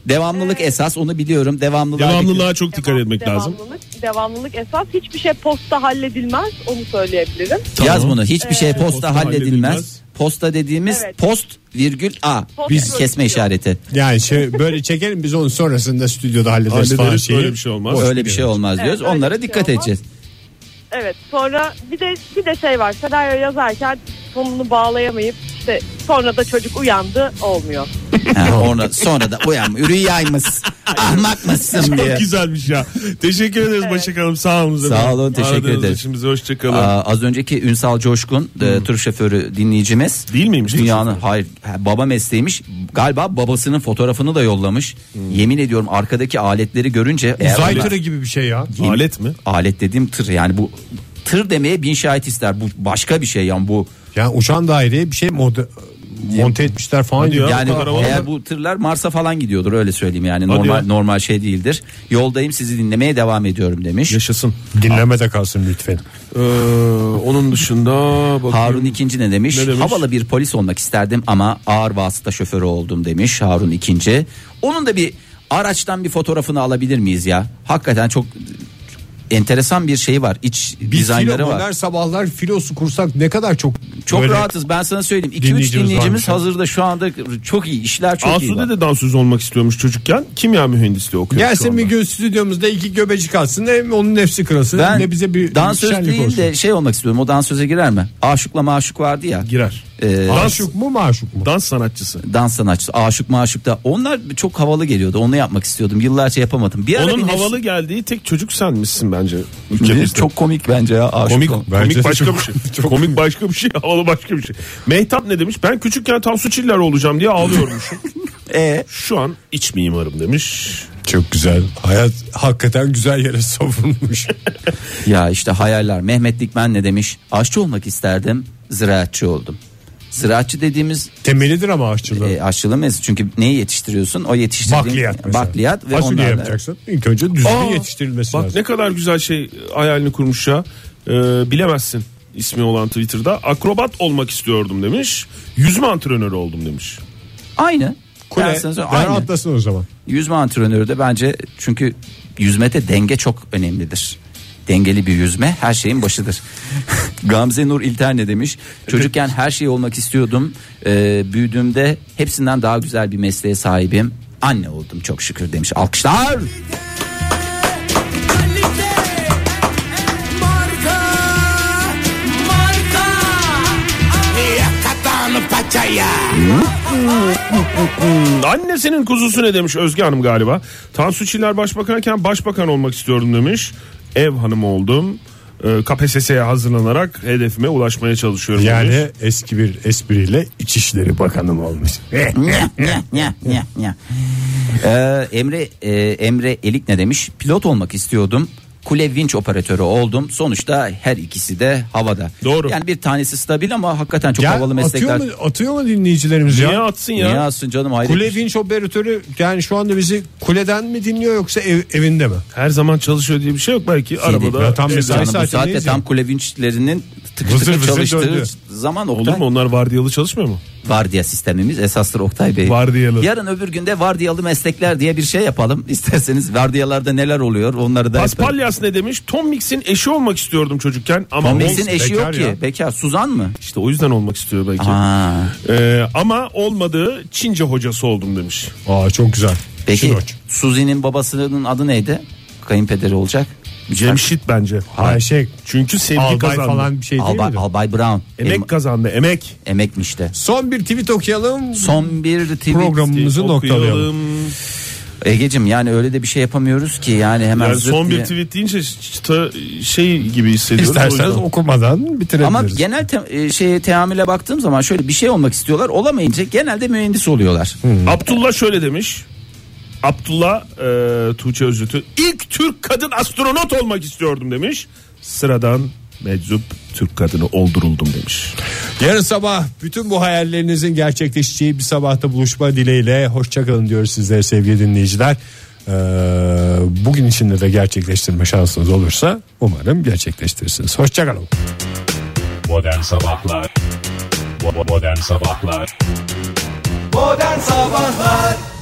[SPEAKER 3] Devamlılık
[SPEAKER 7] Ee,
[SPEAKER 3] esas onu biliyorum. Devamlılık.
[SPEAKER 2] Devamlılığa çok dikkat
[SPEAKER 7] Devam-
[SPEAKER 2] etmek lazım.
[SPEAKER 7] devamlılık- Devamlılık esas. Hiçbir şey posta halledilmez onu söyleyebilirim.
[SPEAKER 3] Yaz bunu. Hiçbir şey posta,
[SPEAKER 2] Posta
[SPEAKER 3] halledilmez.
[SPEAKER 2] halledilmez.
[SPEAKER 3] Posta dediğimiz
[SPEAKER 7] Evet.
[SPEAKER 3] post virgül a.
[SPEAKER 7] Post
[SPEAKER 3] Biz
[SPEAKER 7] virgül
[SPEAKER 3] kesme
[SPEAKER 7] diyor.
[SPEAKER 3] işareti.
[SPEAKER 4] Yani şey, böyle çekelim biz onu sonrasında stüdyoda hallederiz,
[SPEAKER 2] Hallederiz,
[SPEAKER 4] falan şeyi.
[SPEAKER 2] böyle bir şey olmaz.
[SPEAKER 4] Boş
[SPEAKER 3] Öyle bir şey
[SPEAKER 4] biliyorum.
[SPEAKER 3] olmaz
[SPEAKER 7] Evet,
[SPEAKER 3] diyoruz.
[SPEAKER 7] öyle
[SPEAKER 3] Onlara
[SPEAKER 7] bir şey
[SPEAKER 3] dikkat
[SPEAKER 7] olmaz.
[SPEAKER 3] edeceğiz.
[SPEAKER 7] Evet sonra bir de bir de şey var. Senaryo yazarken sonunu bağlayamayıp işte sonra da çocuk uyandı olmuyor.
[SPEAKER 3] Ha, ona, sonra da uyan rüyaymış. Ahmak mısın diye.
[SPEAKER 2] Çok güzelmiş ya. Teşekkür ederiz Başak Hanım. Sağ olun.
[SPEAKER 3] Sağ olun, teşekkür ederiz.
[SPEAKER 2] Şimdi hoşçakalın.
[SPEAKER 3] Aa, az önceki Ünsal Coşkun e, tur şoförü dinleyicimiz.
[SPEAKER 2] Hmm. Değil miymiş?
[SPEAKER 3] Dünyanın hayır ha, baba mesleğiymiş. Galiba babasının fotoğrafını da yollamış.
[SPEAKER 2] Hmm.
[SPEAKER 3] Yemin ediyorum arkadaki aletleri görünce eğer
[SPEAKER 4] Uzay
[SPEAKER 3] onlar-
[SPEAKER 4] turu gibi bir şey ya.
[SPEAKER 2] Alet mi?
[SPEAKER 3] alet dediğim tır yani bu tır demeye bin şahit ister. Bu başka bir şey yani bu
[SPEAKER 4] Yani uçan daireye bir şey mod- monte etmişler falan
[SPEAKER 2] Hadi
[SPEAKER 4] diyor.
[SPEAKER 2] ya.
[SPEAKER 4] Ya.
[SPEAKER 3] Yani
[SPEAKER 2] bu kadar olmadı.
[SPEAKER 3] eğer bu tırlar Mars'a falan gidiyordur öyle söyleyeyim yani
[SPEAKER 2] Hadi
[SPEAKER 3] normal
[SPEAKER 2] ya.
[SPEAKER 3] normal şey değildir. Yoldayım sizi dinlemeye devam ediyorum demiş.
[SPEAKER 2] Yaşasın.
[SPEAKER 4] Dinlemede kalsın lütfen.
[SPEAKER 2] Ee, onun dışında bakayım.
[SPEAKER 3] Harun ikinci ne demiş?
[SPEAKER 2] Ne demiş?
[SPEAKER 3] Havalı bir polis olmak isterdim ama ağır vasıta şoförü oldum demiş Harun ikinci. Onun da bir araçtan bir fotoğrafını alabilir miyiz ya? Hakikaten çok enteresan bir şey var. İç
[SPEAKER 4] Biz
[SPEAKER 3] dizaynları
[SPEAKER 4] filo
[SPEAKER 3] var.
[SPEAKER 4] modern sabahlar filosu kursak ne kadar çok
[SPEAKER 3] Çok
[SPEAKER 4] böyle-
[SPEAKER 3] rahatız ben sana söyleyeyim. 2-3
[SPEAKER 4] dinleyicimiz
[SPEAKER 3] dinleyicimiz,
[SPEAKER 4] varmış ya.
[SPEAKER 3] hazırda şu anda çok iyi. işler çok iyi.
[SPEAKER 2] Asude
[SPEAKER 3] bak.
[SPEAKER 2] de dansöz olmak istiyormuş çocukken. Kimya mühendisliği okuyor. şu
[SPEAKER 4] Gelsin
[SPEAKER 2] anda.
[SPEAKER 4] bir gün stüdyomuzda iki göbecik alsın hem onun nefsi kırılsın
[SPEAKER 3] Ben
[SPEAKER 4] hem de bize bir
[SPEAKER 3] dansöz
[SPEAKER 4] şenlik
[SPEAKER 3] değil
[SPEAKER 4] olsun.
[SPEAKER 3] de şey olmak istiyorum. O dansöze girer mi? Aşıkla maşuk vardı ya.
[SPEAKER 2] girer.
[SPEAKER 3] Ee,
[SPEAKER 2] dans,
[SPEAKER 4] Aşık mı maşuk mu?
[SPEAKER 2] dans sanatçısı.
[SPEAKER 3] dans sanatçısı aşık maşık da onlar çok havalı geliyordu onu yapmak istiyordum yıllarca yapamadım bir ara
[SPEAKER 2] Onun
[SPEAKER 3] bir nefs-
[SPEAKER 2] havalı geldiği tek çocuk senmişsin bence.
[SPEAKER 3] Bir-
[SPEAKER 2] Ülkemizde.
[SPEAKER 3] çok komik bence ya aşık
[SPEAKER 2] Komik,
[SPEAKER 3] ol-
[SPEAKER 4] Bence
[SPEAKER 2] komik
[SPEAKER 4] de
[SPEAKER 2] başka
[SPEAKER 4] çok-
[SPEAKER 2] bir şey. komik başka bir şey, havalı başka bir şey. Mehtap ne demiş? Ben küçükken Tansu Çiller olacağım diye ağlıyormuşum.
[SPEAKER 3] Ee,
[SPEAKER 2] Şu an iç mimarım demiş.
[SPEAKER 4] E? Çok güzel. Hayat hakikaten güzel yere savrulmuş.
[SPEAKER 3] ya işte hayaller Mehmet Dikmen ne demiş aşçı olmak isterdim ziraatçı oldum ziraatçı dediğimiz
[SPEAKER 4] Temelidir ama aşçılığın.
[SPEAKER 3] e, aşçılığın mezunu. çünkü neyi yetiştiriyorsun o yetiştirdiğin
[SPEAKER 4] bakliyat mesela.
[SPEAKER 3] bakliyat ve
[SPEAKER 4] Fasulye
[SPEAKER 3] onlarla
[SPEAKER 4] yapacaksın. İlk önce düzgün
[SPEAKER 2] Aa,
[SPEAKER 4] yetiştirilmesi
[SPEAKER 2] Bak
[SPEAKER 4] lazım.
[SPEAKER 2] ne kadar güzel şey hayalini kurmuş ya. Ee, bilemezsin ismi olan Twitter'da. Akrobat olmak istiyordum demiş. Yüzme antrenörü oldum demiş.
[SPEAKER 3] aynı
[SPEAKER 4] Kule,
[SPEAKER 3] Ben sana söyleyeyim,
[SPEAKER 4] ben
[SPEAKER 3] aynı.
[SPEAKER 4] atlasın o zaman.
[SPEAKER 3] Yüzme antrenörü de bence çünkü yüzmede denge çok önemlidir. Dengeli bir yüzme her şeyin başıdır. Gamze Nur İlter ne demiş? Çocukken her şey olmak istiyordum. Ee, büyüdüğümde hepsinden daha güzel bir mesleğe sahibim. Anne oldum çok şükür demiş. Alkışlar.
[SPEAKER 1] Marka, marka.
[SPEAKER 8] Yakatan paçaya.
[SPEAKER 2] Annesinin kuzusu ne demiş Özge Hanım galiba. Tansu Çiller başbakanken başbakan olmak istiyordum demiş. Ev hanımı oldum. Ee, KPSS'ye hazırlanarak hedefime ulaşmaya çalışıyorum demiş.
[SPEAKER 4] Yani eski bir espriyle İçişleri Bakanım olmuş.
[SPEAKER 3] Nya, nya, nya, nya, nya. Ee, Emre e, Emre Elik ne demiş? Pilot olmak istiyordum. Kule vinç operatörü oldum. Sonuçta her ikisi de havada.
[SPEAKER 2] Doğru.
[SPEAKER 3] Yani bir tanesi stabil ama hakikaten çok
[SPEAKER 4] Ya
[SPEAKER 3] havalı meslekler.
[SPEAKER 4] atıyor, mu, atıyor mu dinleyicilerimiz
[SPEAKER 2] Niye
[SPEAKER 4] ya?
[SPEAKER 2] atsın ya?
[SPEAKER 3] Niye alsın canım hayret.
[SPEAKER 4] Kule vinç operatörü yani şu anda bizi kuleden mi dinliyor yoksa ev- evinde mi?
[SPEAKER 2] Her zaman çalışıyor diye bir şey yok belki
[SPEAKER 4] ya
[SPEAKER 2] arabada.
[SPEAKER 4] tam
[SPEAKER 2] evde.
[SPEAKER 4] mesai
[SPEAKER 3] Canım bu saatte
[SPEAKER 4] saatindeyiz ya.
[SPEAKER 3] tam kule vinçlerinin tıkır
[SPEAKER 4] Vızır
[SPEAKER 3] tıkır
[SPEAKER 4] vızır
[SPEAKER 3] çalıştığı
[SPEAKER 4] döndü.
[SPEAKER 3] zaman
[SPEAKER 2] Olur
[SPEAKER 3] Oktay.
[SPEAKER 2] mu onlar vardiyalı çalışmıyor mu?
[SPEAKER 3] Vardiya sistemimiz esastır Oktay Bey.
[SPEAKER 2] Vardiyalı.
[SPEAKER 3] Yarın öbür günde vardiyalı meslekler diye bir şey yapalım. İsterseniz vardiyalarda neler oluyor onları da yapalım.
[SPEAKER 2] Paspalyas ne demiş? Tom Mix'in eşi olmak istiyordum çocukken ama
[SPEAKER 3] Tom
[SPEAKER 2] Tom
[SPEAKER 3] Mix'in eşi
[SPEAKER 4] bekar
[SPEAKER 3] yok ki.
[SPEAKER 4] ya.
[SPEAKER 3] Bekar. Suzan mı?
[SPEAKER 2] işte o yüzden olmak istiyor belki.
[SPEAKER 3] Aa,
[SPEAKER 2] Ee, ama olmadı Çince hocası oldum demiş.
[SPEAKER 4] Aa çok güzel.
[SPEAKER 3] peki
[SPEAKER 4] Şinoç.
[SPEAKER 3] Suzi'nin babasının adı neydi? Kayınpederi olacak.
[SPEAKER 2] Cemşit bence.
[SPEAKER 4] Ay şey
[SPEAKER 2] Çünkü sevgi
[SPEAKER 4] albay
[SPEAKER 2] kazandı.
[SPEAKER 4] falan bir şey değil
[SPEAKER 3] Albay,
[SPEAKER 4] miydi?
[SPEAKER 3] Albay Brown.
[SPEAKER 2] Emek Hmm.
[SPEAKER 3] Em-
[SPEAKER 2] kazandı emek.
[SPEAKER 3] emekmiş de.
[SPEAKER 4] Son bir tweet okuyalım.
[SPEAKER 3] Son bir tweet.
[SPEAKER 4] programımızı noktalayalım.
[SPEAKER 2] Okuyalım.
[SPEAKER 3] Egecim yani öyle de bir şey yapamıyoruz ki yani hemen
[SPEAKER 2] Yani
[SPEAKER 3] zırt
[SPEAKER 2] son bir
[SPEAKER 3] diye.
[SPEAKER 2] tweet deyince çıta şey gibi hissediyoruz. O
[SPEAKER 4] İsterseniz
[SPEAKER 2] yüzden-
[SPEAKER 4] okumadan bitirebiliriz.
[SPEAKER 3] Ama genel te- e, şeye teamüle baktığım zaman şöyle bir şey olmak istiyorlar olamayınca genelde mühendis oluyorlar.
[SPEAKER 2] Abdullah şöyle demiş. Abdullah e, Tuğçe Özüt'ü ilk Türk kadın astronot olmak istiyordum demiş. Sıradan meczup Türk kadını olduruldum demiş.
[SPEAKER 4] Yarın sabah bütün bu hayallerinizin gerçekleşeceği bir sabahta buluşma dileğiyle hoşçakalın diyoruz sizlere sevgili dinleyiciler. Ee, bugün içinde de gerçekleştirme şansınız olursa umarım gerçekleştirirsiniz. Hoşçakalın.
[SPEAKER 9] Modern Sabahlar Bo- bo- Modern Sabahlar
[SPEAKER 8] Modern Sabahlar